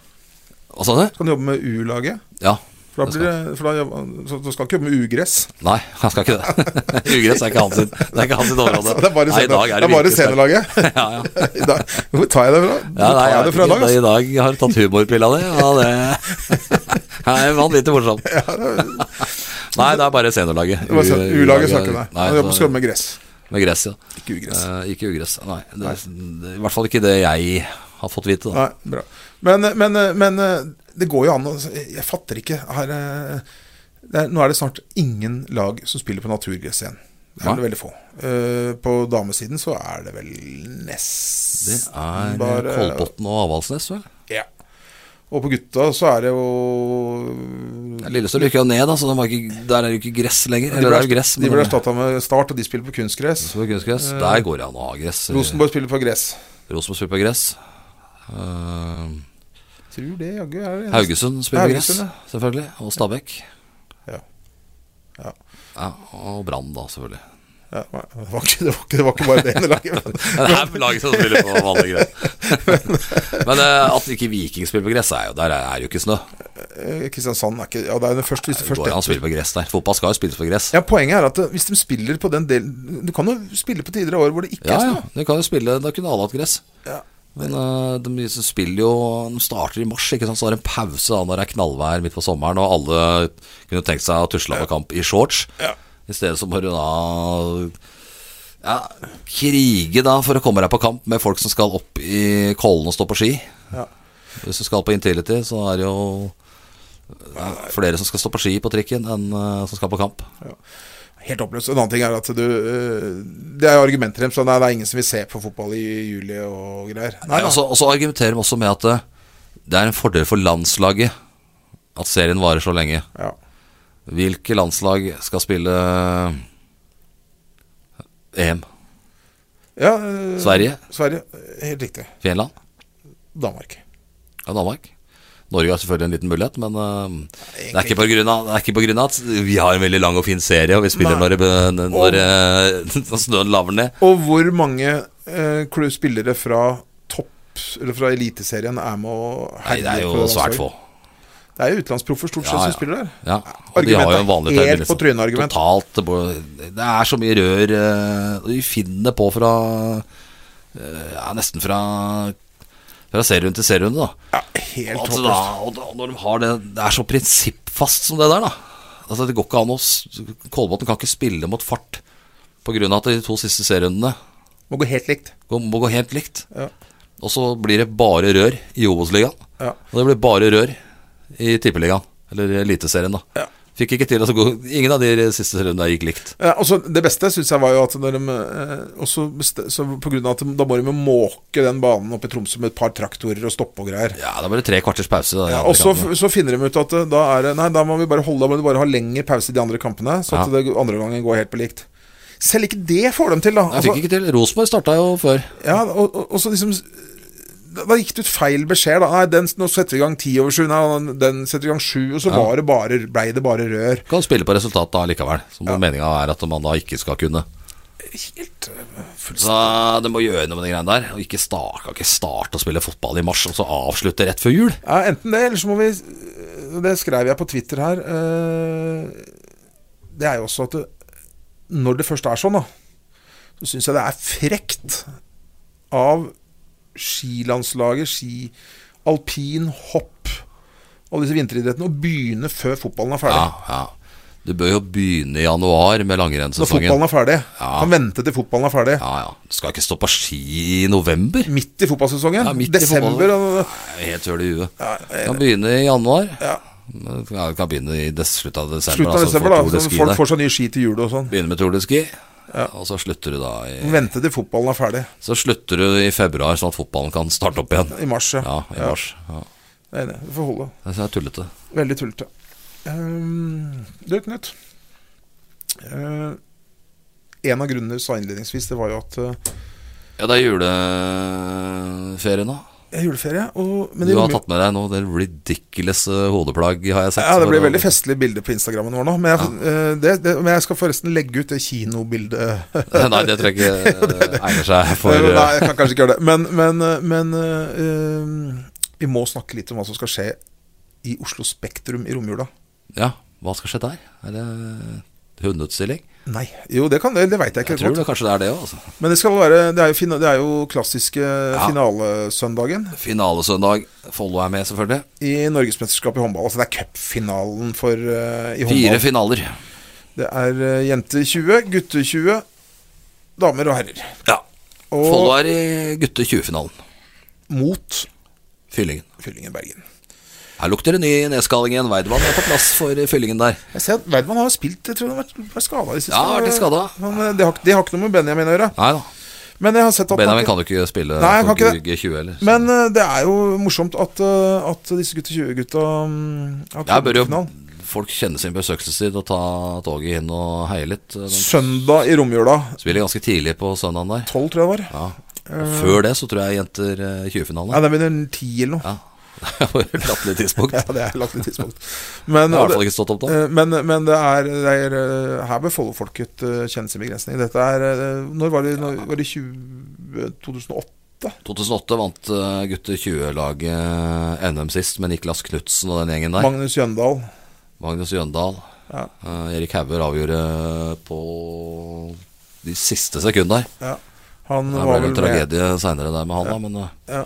S1: Hva sa du?
S2: Skal han jobbe med U-laget?
S1: Ja.
S2: For da
S1: det
S2: blir
S1: skal-
S2: det for da, jobb- så, så skal han ikke jobbe med ugress.
S1: Nei, han skal ikke det. Ugress er ikke hans sitt, det er ikke hans sitt område.
S2: Altså, Det er
S1: Nei,
S2: bare,
S1: i dag
S2: senior-
S1: er
S2: det er bare
S1: virkelig sterkt.
S2: seniorlaget.
S1: Ja, ja.
S2: I dag- Hvor tar jeg det fra? Hvor
S1: Ja,
S2: tar
S1: nei,
S2: jeg det fra i dag?
S1: I
S2: Altså?
S1: dag har du tatt humorpilla di, og det Nei, det er vanvittig morsomt. Nei, det er bare seniorlaget.
S2: Det var sånn,
S1: U-
S2: U-laget snakker med.
S1: Nei,
S2: Han jobber skal jobbe med gress.
S1: med gress, ja.
S2: Ikke ugress.
S1: Eh, ikke ugress. Nei, det, sånn- det, i hvert fall ikke det jeg har fått vite. Da.
S2: Nei, bra. Men, men, men det går jo an å Jeg fatter ikke her, eh, det er, Nå er det snart ingen lag som spiller på naturgress igjen. Det er
S1: Nei.
S2: det veldig få. Eh, på damesiden så er det vel nesten
S1: Det er eh,
S2: bare-
S1: Kolbotn og Avaldsnes, vel.
S2: Ja. Og på gutta så er det jo
S1: Lillestrøm gikk jo ned, da, så de har ikke, der er det jo ikke gress lenger.
S2: De
S1: Eller det er jo
S2: ble-
S1: gress,
S2: de
S1: men det
S2: ble
S1: er-
S2: erstatta med Start, og de spiller på kunstgress.
S1: så er det kunstgress. Der går det an å ha gress.
S2: Rosenborg spiller på gress.
S1: Rosenborg spiller på gress. Eh,
S2: Tror det, jaggu. er det eneste.
S1: Haugesund spiller på gress,
S2: Haugesund,
S1: selvfølgelig. Og Stabæk.
S2: Ja. Ja.
S1: Ja, og Brann, da, selvfølgelig.
S2: Ja, nei, det, var ikke, det, var ikke, det var ikke bare det ene laget. men-
S1: Det er laget som spiller på vanlig gress. Men eh, at ikke Viking spiller på gress, er jo, der er jo ikke snø.
S2: Eh, Kristiansand er ikke Ja, det er den første, hvis det
S1: Det
S2: først
S1: går an å spille på gress der. Fotball skal jo spilles på gress.
S2: Ja, Poenget er at eh, hvis de spiller på den delen Du kan jo spille på tider av året hvor det ikke
S1: Ja,
S2: er
S1: ja.
S2: snø.
S1: De kan jo spille Da kunne alle hatt gress.
S2: Ja.
S1: Men eh, de som spiller jo De starter i mars, ikke sant? så har de en pause da når det er knallvær midt på sommeren, og alle kunne tenkt seg å tusle over kamp i shorts.
S2: Ja.
S1: I stedet så må du da ja, krige da for å komme deg på kamp med folk som skal opp i Kollen og stå på ski.
S2: Ja.
S1: Hvis du skal på Intility, så er det jo ja, flere som skal stå på ski på trikken, enn eh, som skal på kamp.
S2: Helt oppløst. En annen ting er at du eh, Det er jo argumenter deres. Nei, det er ingen som vil se på fotball i juli og greier. Nei,
S1: Nei, altså- og så- Og så argumenterer de også med at eh, det er en fordel for landslaget at serien varer så lenge.
S2: Ja.
S1: Hvilke landslag skal spille eh, EM?
S2: ja eh,
S1: Sverige?
S2: Sverige. eh, Helt riktig.
S1: Finland?
S2: Danmark.
S1: Ja, Danmark? Norge har selvfølgelig en liten mulighet, men eh, det er ikke på grunn av- det er ikke på grunn av at vi har en veldig lang og fin serie, og vi spiller
S2: Nei.
S1: når, det- når, eh, når snøen laver ned.
S2: Og hvor mange eh, klubb- spillere fra topp Eller fra Eliteserien er med og
S1: Nei, det er
S2: på
S1: jo
S2: landslaget?
S1: svært få.
S2: Det er jo utenlandsproffer stort sett
S1: Ja, ja.
S2: som spiller der.
S1: Ja, og de har jo en vanlig
S2: Argumentet er
S1: termin,
S2: helt på trynet, argument.
S1: Totalt, det bo- det er så mye rør eh, Vi finner på fra eh, Ja, nesten fra Fra serierunde til serierunde, da.
S2: Ja, helt
S1: Altså, da,
S2: håpløst.
S1: og da når de har det Det er så prinsippfast som det der, da. Altså, det går ikke an å s- Kolbotn kan ikke spille mot fart på grunn av at de to siste serierundene
S2: Må gå helt likt.
S1: går- må gå helt likt.
S2: Ja.
S1: Og så blir det bare rør i Obos-ligaen.
S2: Ja.
S1: Og det blir bare rør i Tippeligaen, eller Eliteserien, da.
S2: Ja.
S1: Fikk ikke til, altså, gå- ingen av de siste rundene gikk likt.
S2: Ja, Eh, og så det beste syns jeg var jo at når de eh, også beste, så på grunn av at de, Da må de jo måke den banen opp i Tromsø med et par traktorer og stoppe og greier.
S1: Ja, da blir det tre kvarters pause. Da, i
S2: Ja,
S1: andre
S2: og så,
S1: kampen.
S2: så finner de ut at eh, da er det Nei, da må vi bare holde Da må du bare ha lengre pause i de andre kampene, så at
S1: Ja.
S2: det andre gangen går helt på likt. Selv ikke det får de til, da. Altså,
S1: Jeg fikk ikke til. Rosenborg starta jo før.
S2: Ja, og, og, og så liksom da, da gikk det ut feil beskjed. da Nei, den, nå setter vi i gang ti over sju. Nei, den- den setter i gang sju. Og så var det bare, ble det bare rør.
S1: Kan spille på resultat da likevel. Som meninga er at man da ikke skal kunne.
S2: Helt
S1: Så det må gjøre noe med de greiene der. Og ikke start, kan ikke starte å spille fotball i mars, og så avslutte rett før jul.
S2: Ja, enten det, eller så må vi øh, Det skrev jeg på Twitter her. eh, Det er jo også at det, når det først er sånn, da, så syns jeg det er frekt av skilandslaget, ski alpin, hopp, alle disse vinteridrettene, og begynne før fotballen er ferdig.
S1: Ja, ja. Du bør jo begynne i januar med
S2: Når
S1: langrennssesongen.
S2: fotballen er ferdig.
S1: Ja.
S2: Kan vente til fotballen er ferdig.
S1: Ja, ja. Du skal ikke stå på ski i november.
S2: Midt i fotballsesongen.
S1: Ja, midt i
S2: Desember.
S1: fotballen.
S2: og-
S1: Nei, Helt høl i huet. Du kan begynne i januar. Du kan- kan begynne i des- slutten av desember.
S2: Slutten av
S1: altså,
S2: desember,
S1: for
S2: da.
S1: Tour de
S2: Så
S1: Ski
S2: folk
S1: der.
S2: får seg nye ski til jul og sånn.
S1: Begynner med Tour de Ski, og så slutter du da i
S2: Vente til fotballen er ferdig
S1: Så slutter du i februar, sånn at fotballen kan starte opp igjen.
S2: i mars.
S1: Ja, i mars. Ja.
S2: Jeg er enig. Det får holde.
S1: Det er tullete.
S2: Veldig tullete. Um, du, Knut. Eh, en av grunnene du sa innledningsvis, det var jo at eh,
S1: Ja, det er juleferie nå.
S2: jeg har juleferie. Og, men
S1: Du
S2: det
S1: har
S2: rommer-
S1: tatt med deg noe det ridiculous eh, hodeplagg, har jeg sett.
S2: ja, det blir
S1: Hvor-
S2: veldig festlig bilde på Instagrammen vår nå. Men jeg, eh, det, det, men jeg skal forresten legge ut det kinobildet.
S1: Nei, det tror jeg ikke eh, egner seg for
S2: Nei,
S1: eh,
S2: jeg kan kanskje ikke gjøre det. Men, men, eh, men eh, eh, vi må snakke litt om hva som skal skje i Oslo Spektrum i romjula.
S1: Ja, hva skal skje der? Er det hundeutstilling?
S2: Nei. Jo, det kan det. Det veit jeg ikke.
S1: Jeg tror
S2: godt.
S1: det kanskje det er det òg, altså.
S2: Men det skal være Det er jo, fina, det er jo klassiske finalesøndagen
S1: Finalesøndag. Follo er med, selvfølgelig.
S2: i Norgesmesterskapet i håndball. Altså det er cupfinalen for eh, i
S1: Fire
S2: håndball.
S1: finaler.
S2: Det er eh, jenter 20, gutter 20, damer og herrer.
S1: Ja.
S2: Og
S1: Follo er i gutte 20-finalen.
S2: mot
S1: Fyllingen.
S2: Fyllingen Bergen.
S1: Her lukter det ny nedskalling igjen. Weidmann er på plass for fyllingen der.
S2: Jeg ser at Weidmann har jo spilt Jeg tror han har vært- vært skada i siste.
S1: Ja, har vært litt skadet.
S2: Men eh, det har, ikke- det har ikke noe med Benjamin å gjøre.
S1: Nei da.
S2: Men jeg har sett at
S1: Benjamin kan jo ikke spille
S2: Nei, han
S1: for
S2: kan ikke
S1: G20 heller.
S2: Men eh, det er jo morsomt at, eh, at disse gutter 20-gutta mm, har
S1: Jeg bør jo
S2: cupfinalen.
S1: folk kjenne sin besøkelsestid og ta toget inn og heie litt. eh, De
S2: Søndag i romjula.
S1: spiller ganske tidlig på søndagen der.
S2: 12, tror jeg det var.
S1: Ja. Og før det så tror jeg jenter eh,
S2: Nei,
S1: 20-finale.
S2: det er vel en 10 eller noe.
S1: Ja. Det var et latterlig tidspunkt.
S2: Ja,
S1: Det
S2: det er et latterlig tidspunkt. Men,
S1: har i hvert fall ikke stått opp da.
S2: eh, men, men det er, det er eh, Her bør Follo-folket eh, kjenne sin begrensning. Dette er eh, Når var det? Når, var det eh, 20, 2008?
S1: 2008 vant eh, gutter 20-laget NM sist med Niklas Knutsen og den gjengen der.
S2: Magnus Jøndal.
S1: Magnus Jøndal.
S2: Ja.
S1: Eh, Erik Hauger avgjorde på de siste sekundene der.
S2: Ja. Han
S1: Det
S2: var
S1: ble
S2: vel
S1: en
S2: med.
S1: tragedie seinere der med han, da, men eh,
S2: Ja,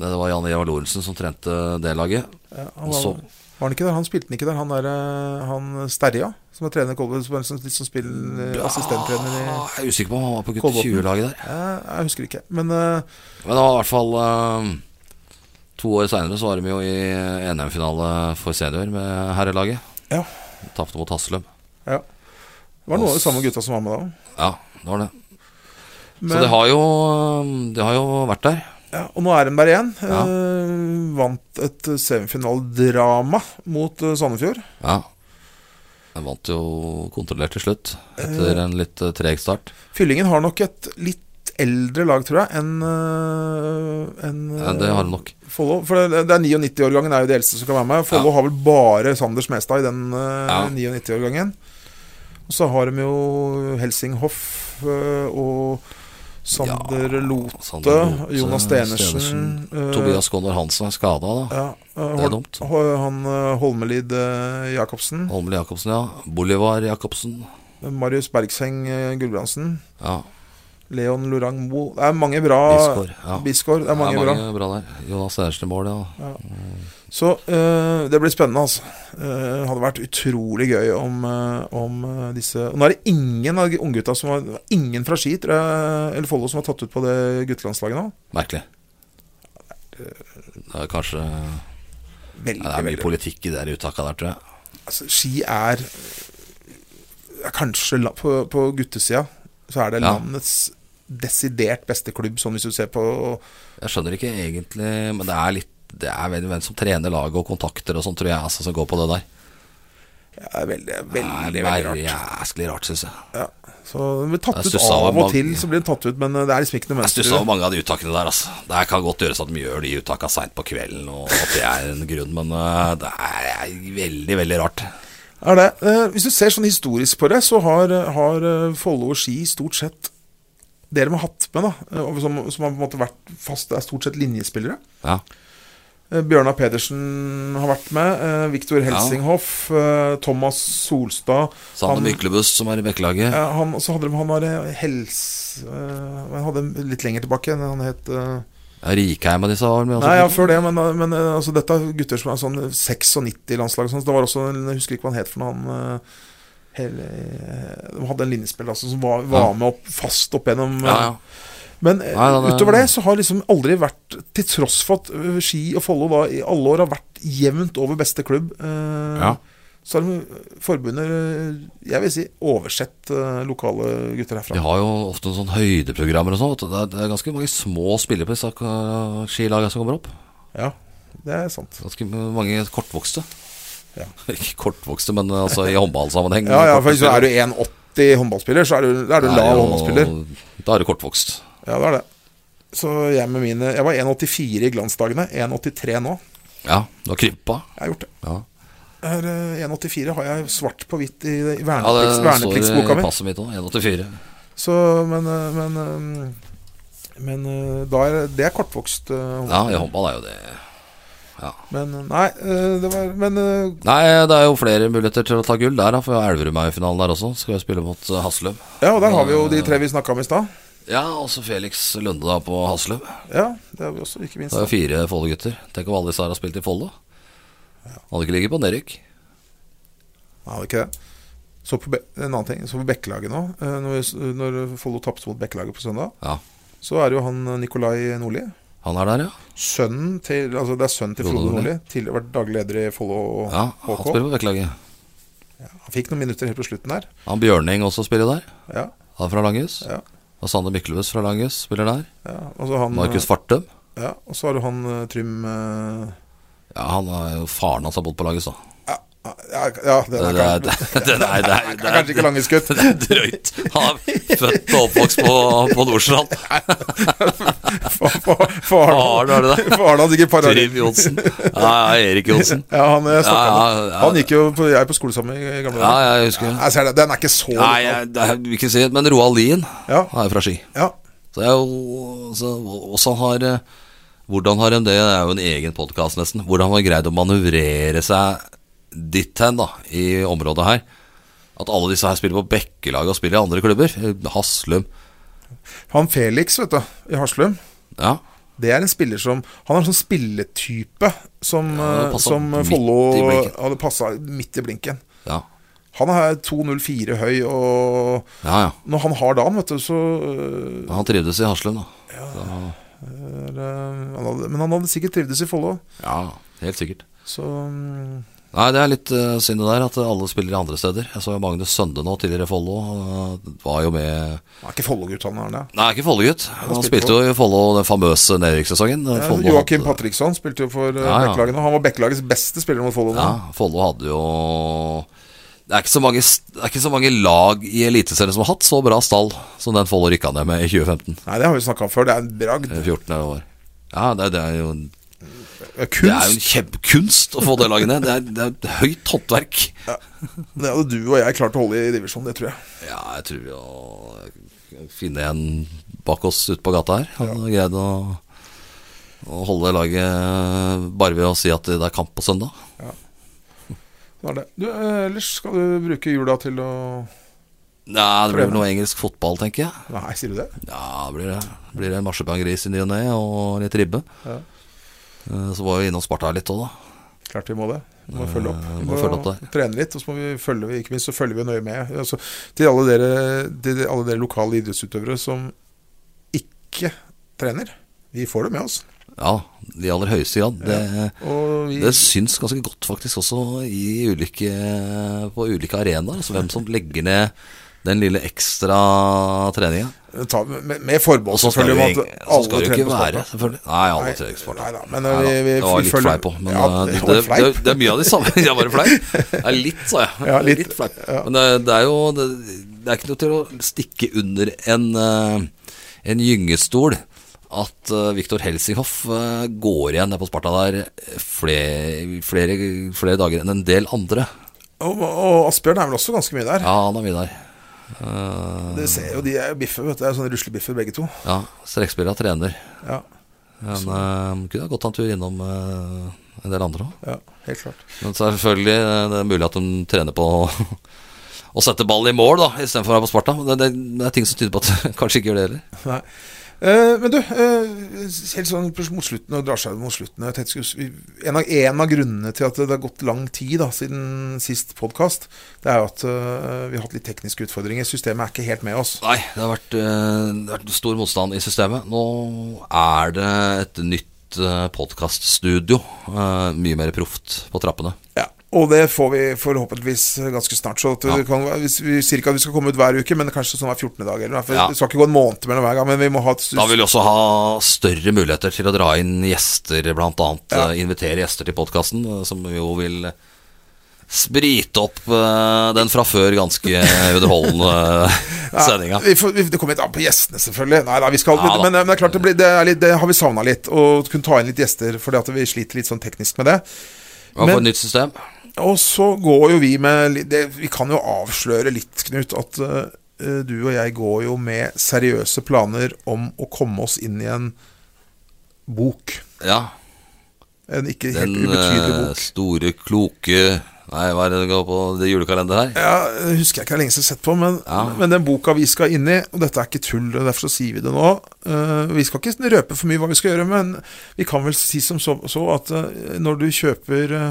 S1: det det var Jan Ivar Lorentzen som trente det laget.
S2: ja, han
S1: Og så
S2: var, var han ikke der? Han spilte han ikke der, han der eh, Han Sterja, som er liksom trener i Kolbotn, som, som, som spiller eh, assistenttrener i
S1: Ah, Jeg er usikker på om han var på gutter
S2: Kolbotn.
S1: 20-laget der.
S2: jeg, jeg husker ikke. Men eh,
S1: Men det var i hvert fall eh, To år seinere så var de jo i NM-finale for senior med herrelaget.
S2: ja.
S1: Tapte mot Haslum.
S2: ja. Det var noen av de samme gutta som var med da.
S1: Ja, det var det.
S2: Men,
S1: Så det har, jo, eh, det har jo vært der.
S2: ja, og nå er de der igjen.
S1: Ja.
S2: Eh, vant et semifinaledrama mot eh, Sandefjord.
S1: Ja. Jeg vant jo kontrollert til slutt, etter en litt eh, treg start.
S2: Fyllingen har nok et litt eldre lag, tror jeg, enn eh, enn,
S1: Ja, det har det nok.
S2: Follo. For det, det er 99-årgangen er jo det eldste som kan være med. Follo har vel bare Sander Smestad i den
S1: Ja.
S2: 99-årgangen. Og så har de jo Helsinghoff eh, og Sander Lote,
S1: Sander Lote,
S2: Jonas Stenersen,
S1: Stenersen,
S2: eh,
S1: Tobias Gaanor Hansen er skada, da.
S2: ja, eh,
S1: Det er
S2: Hol-
S1: dumt.
S2: Ho- Han eh, Holmelid eh, Jacobsen.
S1: Holmli Jacobsen, ja. Bolivar Jacobsen.
S2: Marius Bergseng eh, Gulbrandsen.
S1: Ja.
S2: Leon Lorang Moe. Det er mange bra
S1: Bisgaard, ja.
S2: Bisgaard, det er mange,
S1: ja,
S2: bra.
S1: mange bra. der. Jonas Edersen i mål, ja.
S2: Så eh, det blir spennende, altså. Eh, hadde vært utrolig gøy om, eh, om eh, disse Og nå er det ingen av unggutta som har Ingen fra Ski, tror jeg, eller Follo, som har tatt ut på det guttelandslaget nå.
S1: Merkelig. Det er kanskje ja,
S2: Veldig,
S1: Det er mye
S2: veldig
S1: politikk i det her uttaket der, tror jeg.
S2: altså, Ski er, er Kanskje la- på, på guttesida så er det
S1: Ja.
S2: landets desidert beste klubb, sånn hvis du ser på
S1: Jeg skjønner ikke egentlig Men det er litt det er vel hvem som trener laget og kontakter og sånn, tror jeg, altså, som går på det der.
S2: ja, Veldig,
S1: Det er
S2: veldig, veldig
S1: veldig
S2: rart.
S1: jæsklig rart, syns jeg.
S2: Ja. Så den blir tatt
S1: Jeg
S2: ut
S1: stussa
S2: av
S1: over
S2: og til,
S1: mange-
S2: så blir den tatt ut, men eh, det er liksom ikke noe
S1: Jeg stusser
S2: mønster.
S1: over mange av de uttakene der. Altså. Det kan godt gjøres at de gjør de uttaka seint på kvelden, og at det er en grunn, men eh, det er veldig, veldig rart.
S2: Er det. Eh, hvis du ser sånn historisk på det, så har, har eh, Follo og Ski stort sett det de har hatt med, da, eh, og som, som har på en måte vært fast, er stort sett linjespillere.
S1: Ja.
S2: Eh, Bjørnar Pedersen har vært med. Eh, Viktor Helsinghoff. Eh, Thomas Solstad.
S1: Sander
S2: Han-
S1: Myklebuss, som er i Bekkelaget.
S2: Ja, han, og så hadde de, han var eh, hels... eh, men han hadde litt lenger tilbake enn han het eh,
S1: Ja, Rikheim og disse altså? var vel med? også.
S2: Nei, ja, før det, men, men eh, altså, dette er gutter som er sånn 96-landslag og sånn. så Det var også en, Jeg husker ikke hva han het for noe, han eh, hele, De hadde en linjespiller altså, som var, var
S1: Ja.
S2: med opp, fast opp gjennom eh,
S1: ja, ja.
S2: Men eh,
S1: Nei, nei, nei.
S2: utover det så har liksom aldri vært Til tross for at eh, Ski og Follo da i alle år har vært jevnt over beste klubb, eh,
S1: Ja.
S2: så har de forbundet eh, Jeg vil si oversett eh, lokale gutter herfra.
S1: De har jo ofte sånn høydeprogrammer og sånn. vet du. Det er- Det er ganske mange små spillere på disse eh, skilagene som kommer opp.
S2: Ja, det er sant.
S1: Ganske mange kortvokste.
S2: Ja.
S1: Ikke kortvokste, men altså i håndballsammenheng.
S2: Ja, ja, for hvis du er du 1,80 håndballspiller, så er du, da er du
S1: Det er
S2: lav
S1: jo-
S2: håndballspiller.
S1: Da er du kortvokst.
S2: Ja, det er det. Så jeg med mine Jeg var 1,84 i glansdagene. 1,83 nå.
S1: Ja, du har krympa.
S2: Jeg har gjort det.
S1: Ja.
S2: Her, eh, 1,84 har jeg svart på hvitt i,
S1: Ja,
S2: i
S1: det
S2: verneplikts,
S1: står i
S2: vernepliktsboka mi.
S1: passet mitt òg. 1,84.
S2: Så, men eh, Men, eh, men eh, da er det er kortvokst. eh,
S1: Ja, i håndball er jo det
S2: Men eh, nei, eh, det var Men eh,
S1: Nei, det er jo flere muligheter til å ta gull der, da. For Elverum er jo i finalen der også. Skal jo spille mot eh, Haslum.
S2: ja, og der har vi jo de tre vi snakka om i stad.
S1: Ja, også Felix Lunde da på Haslum.
S2: Ja, det har vi også, ikke minst.
S1: Det er jo fire Follo-gutter. Tenk om alle disse her har spilt i Follo. Hadde ikke ligget på nedrykk.
S2: Nei, det er ikke det. Så på, Be- en annen ting, så på Bekkelaget nå, eh, når, når Follo tapte mot Bekkelaget på søndag,
S1: Ja,
S2: så er det jo han eh, Nikolai Nordli.
S1: han er der, ja.
S2: Sønnen til Altså det er sønnen til
S1: Frode
S2: Frode
S1: Nordli.
S2: Nordli. Tidligere vært daglig leder i Follo
S1: ja han
S2: HK.
S1: spiller på Bekkelaget.
S2: Han fikk noen minutter helt på slutten der.
S1: Han Bjørning også spiller der.
S2: Ja,
S1: Han er fra Langhus.
S2: Ja.
S1: Og Sander Myklebust fra Langhus spiller der.
S2: ja. Og så han
S1: Markus Fartum.
S2: Ja, og så har du han eh, Trym eh,
S1: Ja, han er jo faren hans har bodd på Langhus, da.
S2: Ja, ja den
S1: Det,
S2: er
S1: det, det, det, det,
S2: kanskje,
S1: er- det, er-
S2: den er kanskje ikke lange skutt.
S1: det er drøyt. Han er født og oppvokst på, på Nordstrand.
S2: Faren
S1: Faren er det der.
S2: hans gikk i parallell.
S1: Trym Johnsen. Ja, ja, Erik Johnsen.
S2: Ja, han jeg snakket
S1: Ja,
S2: om.
S1: ja, ja.
S2: Han gikk jo på, jeg på skole sammen i gamle
S1: Ja,
S2: dager.
S1: jeg husker det.
S2: Jeg ser det, Den er ikke så
S1: Nei, jeg, det er, vi kan si det, men Roald Lien
S2: Ja.
S1: han er jo fra Ski.
S2: ja.
S1: Så det er jo så, også har eh, Hvordan har en det? Det er jo en egen podkast, nesten. Hvordan har man greid å manøvrere seg dit hen, da, i området her? At alle disse her spiller på bekkelaget og spiller i andre klubber. Eh, Haslum.
S2: Han Felix, vet du, i Haslum,
S1: Ja.
S2: det er en spiller som Han er en sånn spilletype som,
S1: Ja,
S2: eh,
S1: passet
S2: som
S1: midt i
S2: Follo
S1: blinken.
S2: hadde passa midt i blinken.
S1: Ja,
S2: Han er 2,04 høy, og
S1: ja. ja.
S2: når han har dagen, vet du, så øh,
S1: Han trivdes i Haslum, da.
S2: er, øh, han hadde, Men han hadde sikkert trivdes i Follo.
S1: Ja, helt sikkert.
S2: Så mm,
S1: Nei, det er litt uh, synd det der at alle spiller andre steder. Jeg så jo Magnus Sønde nå, tidligere Follo. eh, var jo med
S2: han er ikke Follo-gutt, han er det.
S1: Nei, ikke Follo-gutt. Han
S2: spilte
S1: spilte jo i Follo den famøse nedrykkssesongen. Follo
S2: Joakim
S1: hadde-
S2: Patriksson spilte jo for ja,
S1: Ja, ja.
S2: Bekkelaget nå. Han var Bekkelagets beste spiller mot Follo nå.
S1: Ja, Follo hadde jo det er, ikke så mange, det er ikke så mange lag i Eliteserien som har hatt så bra stall som den Follo rykka ned med i 2015.
S2: Nei, det har vi snakka om før. Det er en bragd.
S1: eller 14 eller hva det var. Ja, det, er- det er jo en- det er jo en
S2: Kunst.
S1: kjempekunst å få det laget ned. Det er, det er et høyt håndverk.
S2: Det hadde du og jeg klart å holde i divisjon, det tror jeg.
S1: Ja, jeg tror å finne en bak oss ute på gata her. Han har greid å, å holde laget bare ved å si at det er kamp på søndag.
S2: Det var det. Du, eh, ellers skal du bruke jula til å
S1: Nei, det blir vel noe engelsk fotball, tenker jeg.
S2: Nei, sier du det?
S1: Ja, det blir det. Det Blir det marsipangris i ny og ne, og litt ribbe.
S2: Ja.
S1: Eh, Så var jo innom Sparta litt òg, da.
S2: Klart vi må det. Vi må følge opp.
S1: Eh, må følge opp der.
S2: trene litt, og så må vi følge Ikke minst så følger vi nøye med. Altså, til alle dere, til alle dere lokale idrettsutøvere som ikke trener. Vi får det med oss.
S1: Ja, i aller høyeste grad. Det,
S2: Og vi
S1: det syns ganske godt faktisk også i ulike, på ulike arenaer. Altså hvem som legger ned den lille ekstra treninga.
S2: tar med, med forbehold,
S1: Og så skal det
S2: selvfølgelig,
S1: jo
S2: om at
S1: ikke- så skal det jo
S2: alle
S1: ikke
S2: trener på
S1: være
S2: Sparta.
S1: selvfølgelig. Nei, alle
S2: Nei,
S1: trener ikke Sparta.
S2: nei da, men eh,
S1: Nei da,
S2: vi- vi-
S1: det var
S2: vi
S1: litt
S2: følger-
S1: fleip òg. Men
S2: Ja,
S1: eh,
S2: det
S1: det,
S2: var
S1: det,
S2: fleip.
S1: det, det er mye av de samme. Det er bare fleip. Det er litt, sa jeg.
S2: Ja,
S1: Det er
S2: litt,
S1: fleip.
S2: ja.
S1: Men det, det er jo det, det er ikke noe til å stikke under en, eh, en gyngestol at eh, Viktor Helsinghoff eh, går igjen ned på Sparta der flere, flere, flere dager enn en del andre.
S2: Og, og Asbjørn er vel også ganske mye der.
S1: Ja, han er mye der. Eh,
S2: Det ser jo, De er jo biffer, vet du. Det er sånne ruslebiffer begge to.
S1: ja, strekspiller og trener.
S2: Ja,
S1: Men eh, kunne ha gått en tur innom eh, en del andre òg.
S2: ja helt klart.
S1: Men selvfølgelig, eh, det er mulig at de trener på å, å sette ball i mål da, istedenfor å være på Sparta. Men Det, det, det er ting som tyder på at de kanskje ikke gjør det heller.
S2: Nei. Eh, men du, eh, helt sånn på- mot slutten, og drar seg mot slutten jeg tenkte, skulle- vi- en, av, en av grunnene til at det har gått lang tid da, siden sist podkast, det er jo at eh, vi har hatt litt tekniske utfordringer. Systemet er ikke helt med oss.
S1: Nei, det har, vært, eh, det har vært stor motstand i systemet. Nå er det et nytt eh, podcaststudio eh, Mye mer proft på trappene.
S2: Ja, og det får vi forhåpentligvis ganske snart. Så at det
S1: Ja.
S2: kan, hvis vi, cirka, vi skal komme ut hver uke, men kanskje sånn hver 14. dag. Eller, noe, for
S1: Ja.
S2: Det skal ikke gå en måned mellom hver gang, men vi må ha et
S1: Da vil vi også ha større muligheter til å dra inn gjester, blant annet
S2: Ja.
S1: eh, Invitere gjester til podkasten, som jo vil sprite opp eh, den fra før ganske underholdende eh,
S2: Ja,
S1: sendinga.
S2: Vi får, vi, det kommer litt an på gjestene, selvfølgelig. Nei, nei, vi skal,
S1: Ja, da.
S2: men, men det er klart, det, blir, det, er litt, det har vi savna litt. Å kunne ta inn litt gjester, fordi at vi sliter litt sånn teknisk med det.
S1: Hva for
S2: men-
S1: et nytt system?
S2: Og så går jo vi med litt- det, Vi kan jo avsløre litt, Knut, at eh, du og jeg går jo med seriøse planer om å komme oss inn i en bok.
S1: Ja,
S2: En ikke helt
S1: den
S2: ubetydelig
S1: eh,
S2: bok.
S1: store, kloke Nei, hva er det det går på det julekalender her?
S2: Ja, det husker jeg ikke det er lenge siden jeg har sett på, men,
S1: Ja.
S2: men den boka vi skal inn i, og dette er ikke tull, og derfor så sier vi det nå eh, Vi skal ikke røpe for mye hva vi skal gjøre, men vi kan vel si som så, så at eh, når du kjøper eh,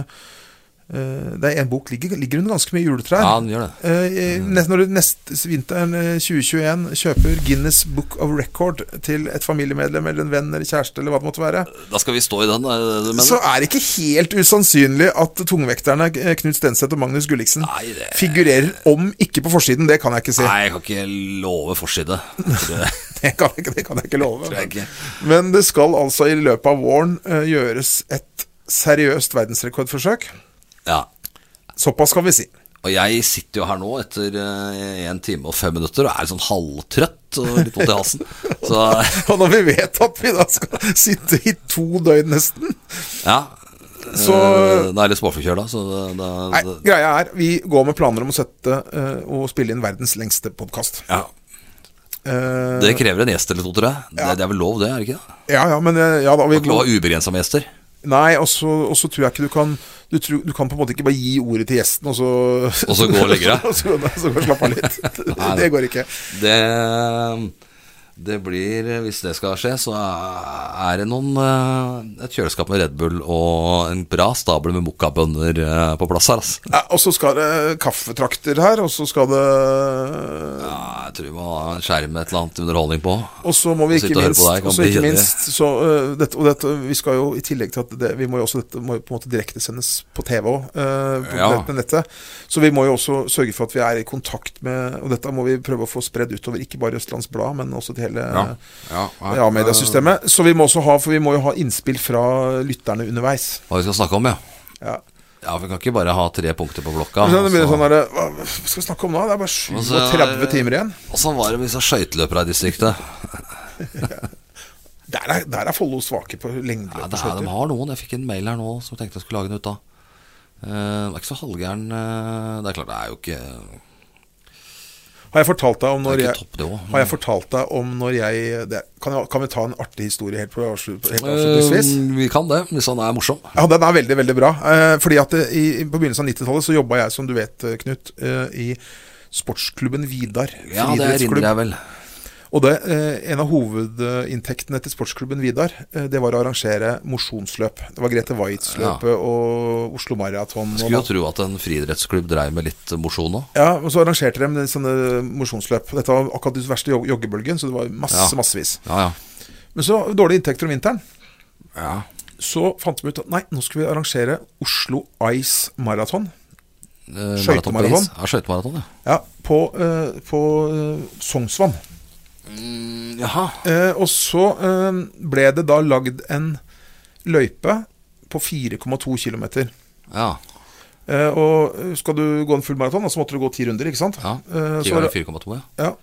S2: eh, Det er en bok ligger, ligger under ganske mye juletrær.
S1: Ja, Mm. den gjør det.
S2: Eh, i- nes- når du neste vinteren eh, 2021 kjøper Guinness Book of Record til et familiemedlem eller en venn eller kjæreste eller hva det måtte være,
S1: Da skal vi stå i den, er det det du
S2: så
S1: mener?
S2: er det ikke helt usannsynlig at tungvekterne eh, Knut Stenseth og Magnus Gulliksen
S1: Nei, det
S2: figurerer om ikke på forsiden. Det kan jeg ikke si.
S1: Nei, jeg kan ikke love forside. Det
S2: Det kan jeg, ikke- det kan jeg ikke love.
S1: tror jeg ikke.
S2: Men det skal altså i løpet av våren eh, gjøres et seriøst verdensrekordforsøk.
S1: Ja.
S2: Såpass kan vi si.
S1: Og jeg sitter jo her nå etter én time og fem minutter og er sånn halvtrøtt og litt vondt i halsen. Så
S2: Og når vi vet at vi da skal sitte i to døgn nesten
S1: ja.
S2: Så-
S1: Eh, Da er jeg litt småforkjøla, så da, da,
S2: Nei,
S1: da
S2: greia er vi går med planer om å sette eh, og spille inn verdens lengste podkast.
S1: ja. Det krever en gjest eller to, tror jeg. Det, det er vel lov, det? er det ikke det?
S2: ja, ja, men eh, ja da vi
S1: Ikke lov å ha ubegrensa med gjester.
S2: Nei, og så og så tror jeg ikke du kan du, tror, du kan på en måte ikke bare gi ordet til gjesten, og så
S1: Og så gå og legge deg?
S2: og så, og så gå og slappe av litt.
S1: Nei,
S2: Det går ikke.
S1: Det, det blir, hvis det skal skje, så er det noen eh, Et kjøleskap med Red Bull og en bra stabel med mokkabønner eh, på plass her, altså.
S2: Ja, og så skal det kaffetrakter her, og så skal det
S1: Ja, jeg tror vi må ha en skjerm med et eller annet underholdning på.
S2: Og så må vi
S1: Å sitte
S2: ikke
S1: og høre
S2: minst,
S1: på deg kan
S2: og så
S1: bli
S2: ikke
S1: kjedelig.
S2: minst så, øh, dette, Og dette, vi skal jo i tillegg til at det, vi må jo også dette må jo på en måte direktesendes på TV òg, eh, på
S1: Ja.
S2: nett- nettet. Så vi må jo også sørge for at vi er i kontakt med Og dette må vi prøve å få spredd utover, ikke bare Østlands Blad, men også til hele ja. mediasystemet. Så vi må også ha For vi må jo ha innspill fra lytterne underveis.
S1: Hva vi skal snakke om, ja.
S2: Ja.
S1: Ja, for Vi kan ikke bare ha tre punkter på blokka. altså.
S2: Men så det blir
S1: og Ah, så-
S2: sånn der, Hva skal vi snakke om nå? Det er bare
S1: Og så-
S2: 37 timer igjen.
S1: Og sånn var det med disse skøyteløperne i distriktet.
S2: Der er, der er Follo svake på lengdeløp.
S1: Ja,
S2: og
S1: det er,
S2: skøyter.
S1: de har noen. Jeg fikk en mail her nå som tenkte jeg skulle lage den ut av. Eh, det er ikke så halvgæren eh, Det er klart, det er jo ikke, det
S2: Har jeg fortalt deg om
S1: er
S2: når
S1: ikke
S2: jeg
S1: toppnivå.
S2: Har jeg fortalt deg om når jeg det, kan, jeg kan vi ta en artig historie helt, på, avslut- helt avslutningsvis?
S1: Eh, vi kan det, hvis han er morsom.
S2: Ja, den er veldig, veldig bra. Eh, fordi at eh, i, På begynnelsen av 90-tallet så jobba jeg, som du vet, eh, Knut, eh, i sportsklubben Vidar.
S1: Ja, det erindrer jeg vel.
S2: Og det, eh, en av hovedinntektene til sportsklubben Vidar, eh, det var å arrangere mosjonsløp. Det var Grete Waitz-løpet og Oslo Maraton. og-
S1: Skulle jo tro at en friidrettsklubb dreiv med litt mosjon òg.
S2: Ja, og så arrangerte de sånne mosjonsløp. Dette var akkurat den verste jog- joggebølgen, så det var masse,
S1: Ja.
S2: massevis.
S1: Ja, ja.
S2: Men så dårlige inntekter om vinteren.
S1: ja.
S2: så fant vi ut at nei, nå skal vi arrangere Oslo Ice Marathon.
S1: Eh,
S2: Skøytemaraton.
S1: maraton på is. Ja, skøytemaraton, ja.
S2: Ja, på, eh, på eh, Sognsvann.
S1: Mm, jaha.
S2: Eh, og så eh, ble det da lagd en løype på 4,2 km.
S1: Ja.
S2: Eh, og eh, skal du gå en full maraton, da, så måtte du gå ti runder, ikke sant?
S1: ja.
S2: Eh, så
S1: Ti var
S2: var
S1: det
S2: det,
S1: 4,2, ja.
S2: ja.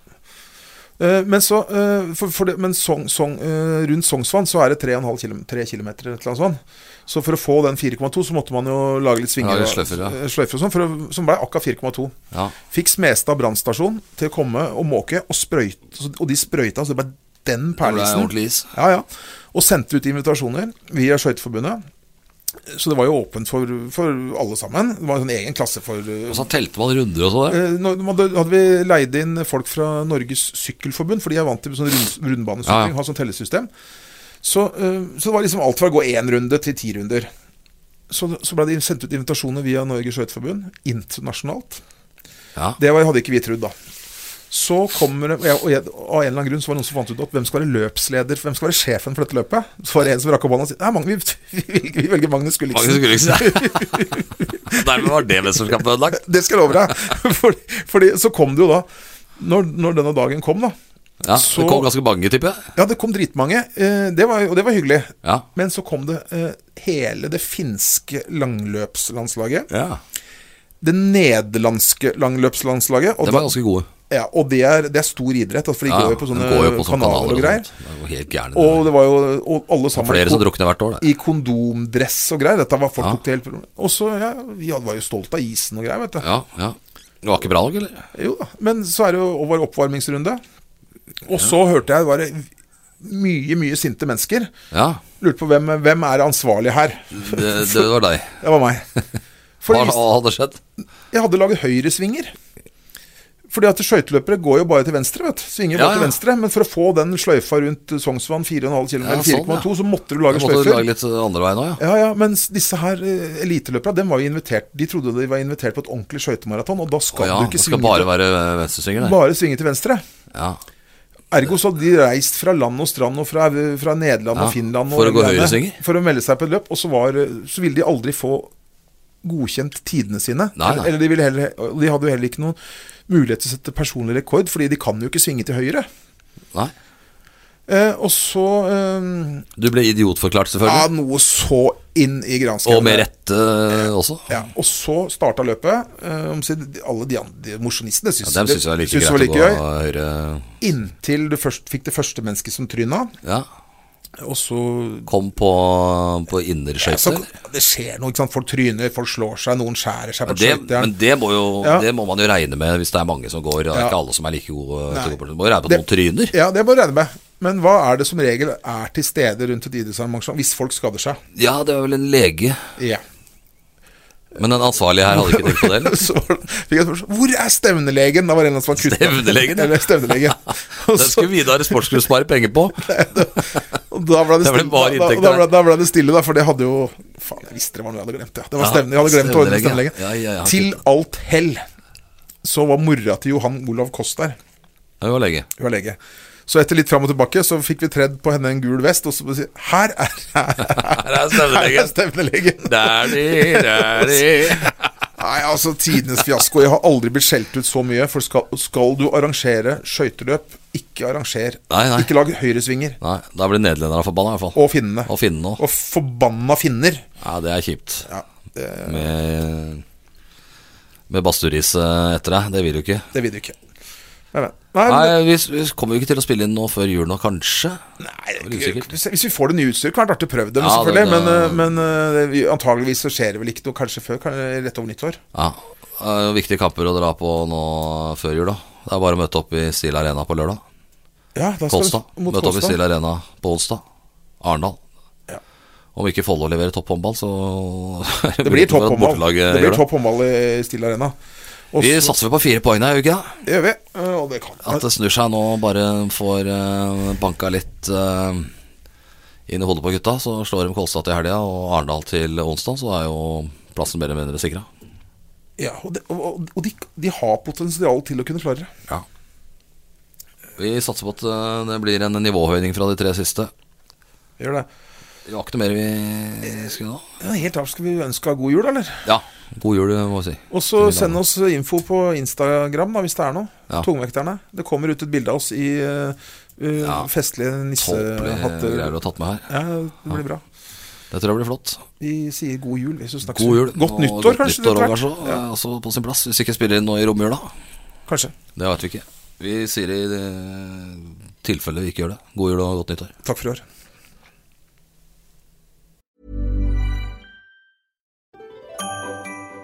S2: Eh, men så, eh, for, for det, men song, song, eh, rundt Sognsvann så er det 3,5 km, 3 km eller et eller annet sånt. Så for å få den 4,2 så måtte man jo lage litt svinger
S1: Lage
S2: og-
S1: sløyfer, ja.
S2: eh, sløyfer og sånn, for å- som ble akkurat 4,2.
S1: ja.
S2: Fikk Smestad brannstasjon til å komme og måke, og, sprøyt, og de sprøyta, så det ble den
S1: Det ble
S2: perlisen.
S1: ordentlig is.
S2: Ja, ja. Og sendte ut invitasjoner via Skøyteforbundet Så det var jo åpent for, for alle sammen. Det var en sånn egen klasse for eh,
S1: Og så telte man runder og så der.
S2: eh, nå- nå hadde hadde vi leid inn folk fra Norges Sykkelforbund, for de er vant til sånn rund,
S1: Ja, ja.
S2: rundbanesykling, har sånn tellesystem. Så, eh, så det var liksom alt fra å gå én runde til ti runder. Så, så ble det sendt ut invitasjoner via Norges Skøyteforbund internasjonalt.
S1: Ja.
S2: Det var, hadde ikke vi trodd, da. Så kommer det, og jeg, og jeg, Av en eller annen grunn så var det noen som fant ut at hvem skal være løpsleder, hvem skal være sjefen for dette løpet? Så var det en som rakk opp hånda og sa Nei, Magne, vi, vi, velger- vi velger Magnus
S1: Magnus
S2: Gulliksen.
S1: Gulliksen. Dermed var det mesterskapet ødelagt.
S2: Det skal jeg love deg. For, fordi så kom det jo da Når, når denne dagen kom, da
S1: Ja,
S2: Så-
S1: Det kom ganske mange, tipper jeg.
S2: Ja, det kom dritmange, eh, det var, og det var hyggelig.
S1: Ja.
S2: Men så kom det eh, hele det finske langløpslandslaget.
S1: ja.
S2: Det nederlandske langløpslandslaget. Og
S1: De
S2: da-
S1: var ganske gode.
S2: Ja, og det er, det er stor idrett, altså, for de
S1: Ja,
S2: går jo på sånne
S1: de går jo på sånne
S2: kanaler og greier.
S1: sånt. Det var helt gærne.
S2: Og det var jo og alle sammen
S1: Flere som
S2: i kon-
S1: drukner hvert år. Det.
S2: i kondomdress og greier. Dette var folk
S1: Ja.
S2: tok til helt Og så, ja, vi var jo stolt av isen og greier, vet du.
S1: Ja, ja. Det var ikke bra nok, eller?
S2: Jo da. Men så er det jo og var oppvarmingsrunde. Og så hørte jeg det var mye, mye sinte mennesker.
S1: Ja.
S2: Lurte på hvem, hvem er ansvarlig her.
S1: Det, det var deg.
S2: Det var meg. For
S1: Hva,
S2: isen-
S1: hva hadde skjedd?
S2: Jeg hadde laget høyresvinger. Fordi at skøyteløpere går jo bare til venstre, vet du. Svinger
S1: Ja,
S2: bare til
S1: ja.
S2: venstre. Men for å få den sløyfa rundt Sognsvann 4,5 km,
S1: Ja,
S2: eller
S1: sånn,
S2: 4,2,
S1: ja.
S2: så måtte du
S1: Da
S2: lage
S1: måtte du
S2: sløyfer.
S1: lage litt eh, andre veien òg, ja.
S2: Ja, ja, mens disse her eh, eliteløperne, dem var jo invitert De trodde de var invitert på et ordentlig skøytemaraton, og da skal
S1: Å ja,
S2: du ikke
S1: det
S2: svinge
S1: skal bare være venstresvinger,
S2: til,
S1: det.
S2: bare svinge til venstre.
S1: Ja.
S2: Ergo så hadde de reist fra land og strand og fra, fra Nederland
S1: Ja,
S2: og Finland og
S1: for å gå
S2: greiene,
S1: høyresvinger.
S2: For å melde seg på et løp. Og så, var, så ville de aldri få godkjent tidene sine.
S1: Nei, nei.
S2: Eller de, ville heller, og de hadde jo heller ikke noen mulighet til å sette personlig rekord, fordi de kan jo ikke svinge til høyre.
S1: Nei.
S2: Eh, og så eh,
S1: Du ble idiotforklart,
S2: Ja,
S1: selvfølgelig.
S2: noe så inn i granskauen.
S1: Og med rette eh, også.
S2: Ja, og så starta løpet. Eh, om siden de- alle de andre mosjonistene syntes
S1: Dem syns jeg var
S2: det-
S1: like
S2: syntes det var
S1: greit å
S2: like
S1: gå
S2: gøy.
S1: høyre
S2: Inntil du først fikk det første mennesket som tryna,
S1: Ja.
S2: og så
S1: Kom på, på
S2: Så,
S1: innerskøyter.
S2: det skjer noe, ikke sant. Folk tryner, folk slår seg, noen skjærer seg på
S1: Det, men
S2: skøytejern.
S1: det må, jo,
S2: Ja.
S1: det må man jo regne med hvis det er mange som går. Det er
S2: Ja.
S1: ikke alle som er like gode. til å
S2: Nei.
S1: gå på. Du må jo regne på at
S2: Det-
S1: noen tryner.
S2: Ja, det må du regne med. Men hva er det som regel er til stede rundt et idrettsarrangement hvis folk skader seg?
S1: Ja, det var vel en lege.
S2: Ja.
S1: Men den ansvarlige her hadde ikke tenkt på det. eller?
S2: Så var det- fikk jeg et spørsmål Hvor er stevnelegen? Da var det en eller annen som var kutta.
S1: Stevnelegen?
S2: Eller stevnelegen. Og,
S1: Den
S2: så,
S1: skulle Vidar Sportsklubb spare penger på.
S2: og da ble det
S1: Det ble
S2: stille,
S1: bare
S2: da, da,
S1: inntekt
S2: da,
S1: der.
S2: ble, da ble det stille, da, for det hadde jo Faen, jeg visste det var noe jeg hadde glemt. Ja. Det var
S1: Ja,
S2: stevne, jeg hadde glemt å ordne
S1: stevnelegen.
S2: stevnelegen.
S1: Ja, ja, ja.
S2: Til alt hell så var mora til Johan Olav Koss der.
S1: Det var lege.
S2: Hun er lege. Så etter litt fram og tilbake så fikk vi tredd på henne en gul vest, og så bare si Her er, her,
S1: Her er stevnelegen.
S2: Her er stevnelegen.
S1: Dæhli, dæhli.
S2: Nei, altså, tidenes fiasko. Jeg har aldri blitt skjelt ut så mye. For skal, skal du arrangere skøyteløp, ikke arranger
S1: Nei, nei.
S2: Ikke lag høyresvinger.
S1: Nei, da blir nederlenderne forbanna, i hvert fall.
S2: Og finnene.
S1: Og finnene òg.
S2: Og forbanna finner.
S1: Ja, det er kjipt.
S2: Ja, det,
S1: Med, med badsturis eh, etter deg. Det vil du ikke.
S2: det vil du ikke. Men, men. Nei, men-
S1: Nei, vi, vi kommer jo ikke til å spille inn nå før jul nå, kanskje.
S2: Nei,
S1: Det var usikkert.
S2: hvis hvis vi får det nye utstyret, kan det være artig å prøve det. men
S1: Ja, det-
S2: selvfølgelig,
S1: det-
S2: Men, eh, men eh, vi- antageligvis så skjer det vel ikke noe kanskje før, kanskje rett over nyttår.
S1: Ja, det er jo viktige kamper å dra på nå før jul, da. Det er bare å møte opp i Steel Arena på lørdag.
S2: Ja, da skal
S1: Kolstad.
S2: vi mot
S1: Møte opp i
S2: Kolstad.
S1: Steel Arena på onsdag. Arendal.
S2: Ja.
S1: Om ikke Follo leverer topphåndball, så
S2: Det blir topp håndball.
S1: Bortelaget
S2: Det blir
S1: gjør det.
S2: topp håndball i Stille Arena. Og
S1: Vi
S2: så-
S1: satser vel på fire poeng her, gjør vi ikke det?
S2: Det gjør vi. eh, Og det kan
S1: At det snur seg nå, bare får eh, banka litt eh, inn i hodet på gutta. Så slår de Kolstad til helga og Arendal til onsdag, så er jo plassen mer eller mindre sikra.
S2: ja, Og, det, og, og de, de har potensial til å kunne klare det.
S1: Ja. Vi satser på at eh, det blir en nivåhøyning fra de tre siste.
S2: Gjør det.
S1: Det var ikke noe mer vi skulle nå.
S2: Ja, helt av skal vi ønske god jul, eller?
S1: Ja, god jul, må vi si.
S2: Og så send oss info på Instagram da, hvis det er noe.
S1: Ja.
S2: Tungvekterne. Det kommer ut et bilde av oss i eh, eh,
S1: Ja.
S2: festlige
S1: Tåpelige
S2: nissehatter.
S1: greier du har tatt med her.
S2: Ja, det blir bra.
S1: Det tror jeg blir flott.
S2: Vi sier god jul. hvis du snakker
S1: God jul.
S2: Godt
S1: og
S2: nyttår, kanskje.
S1: Nyttår
S2: etter
S1: også,
S2: hvert.
S1: kanskje, eh, Også på sin plass, hvis ikke spiller inn nå i romjula.
S2: Ja, kanskje.
S1: Det veit vi ikke. Vi sier i eh, tilfelle vi ikke gjør det. God jul og godt nyttår.
S2: Takk for i år.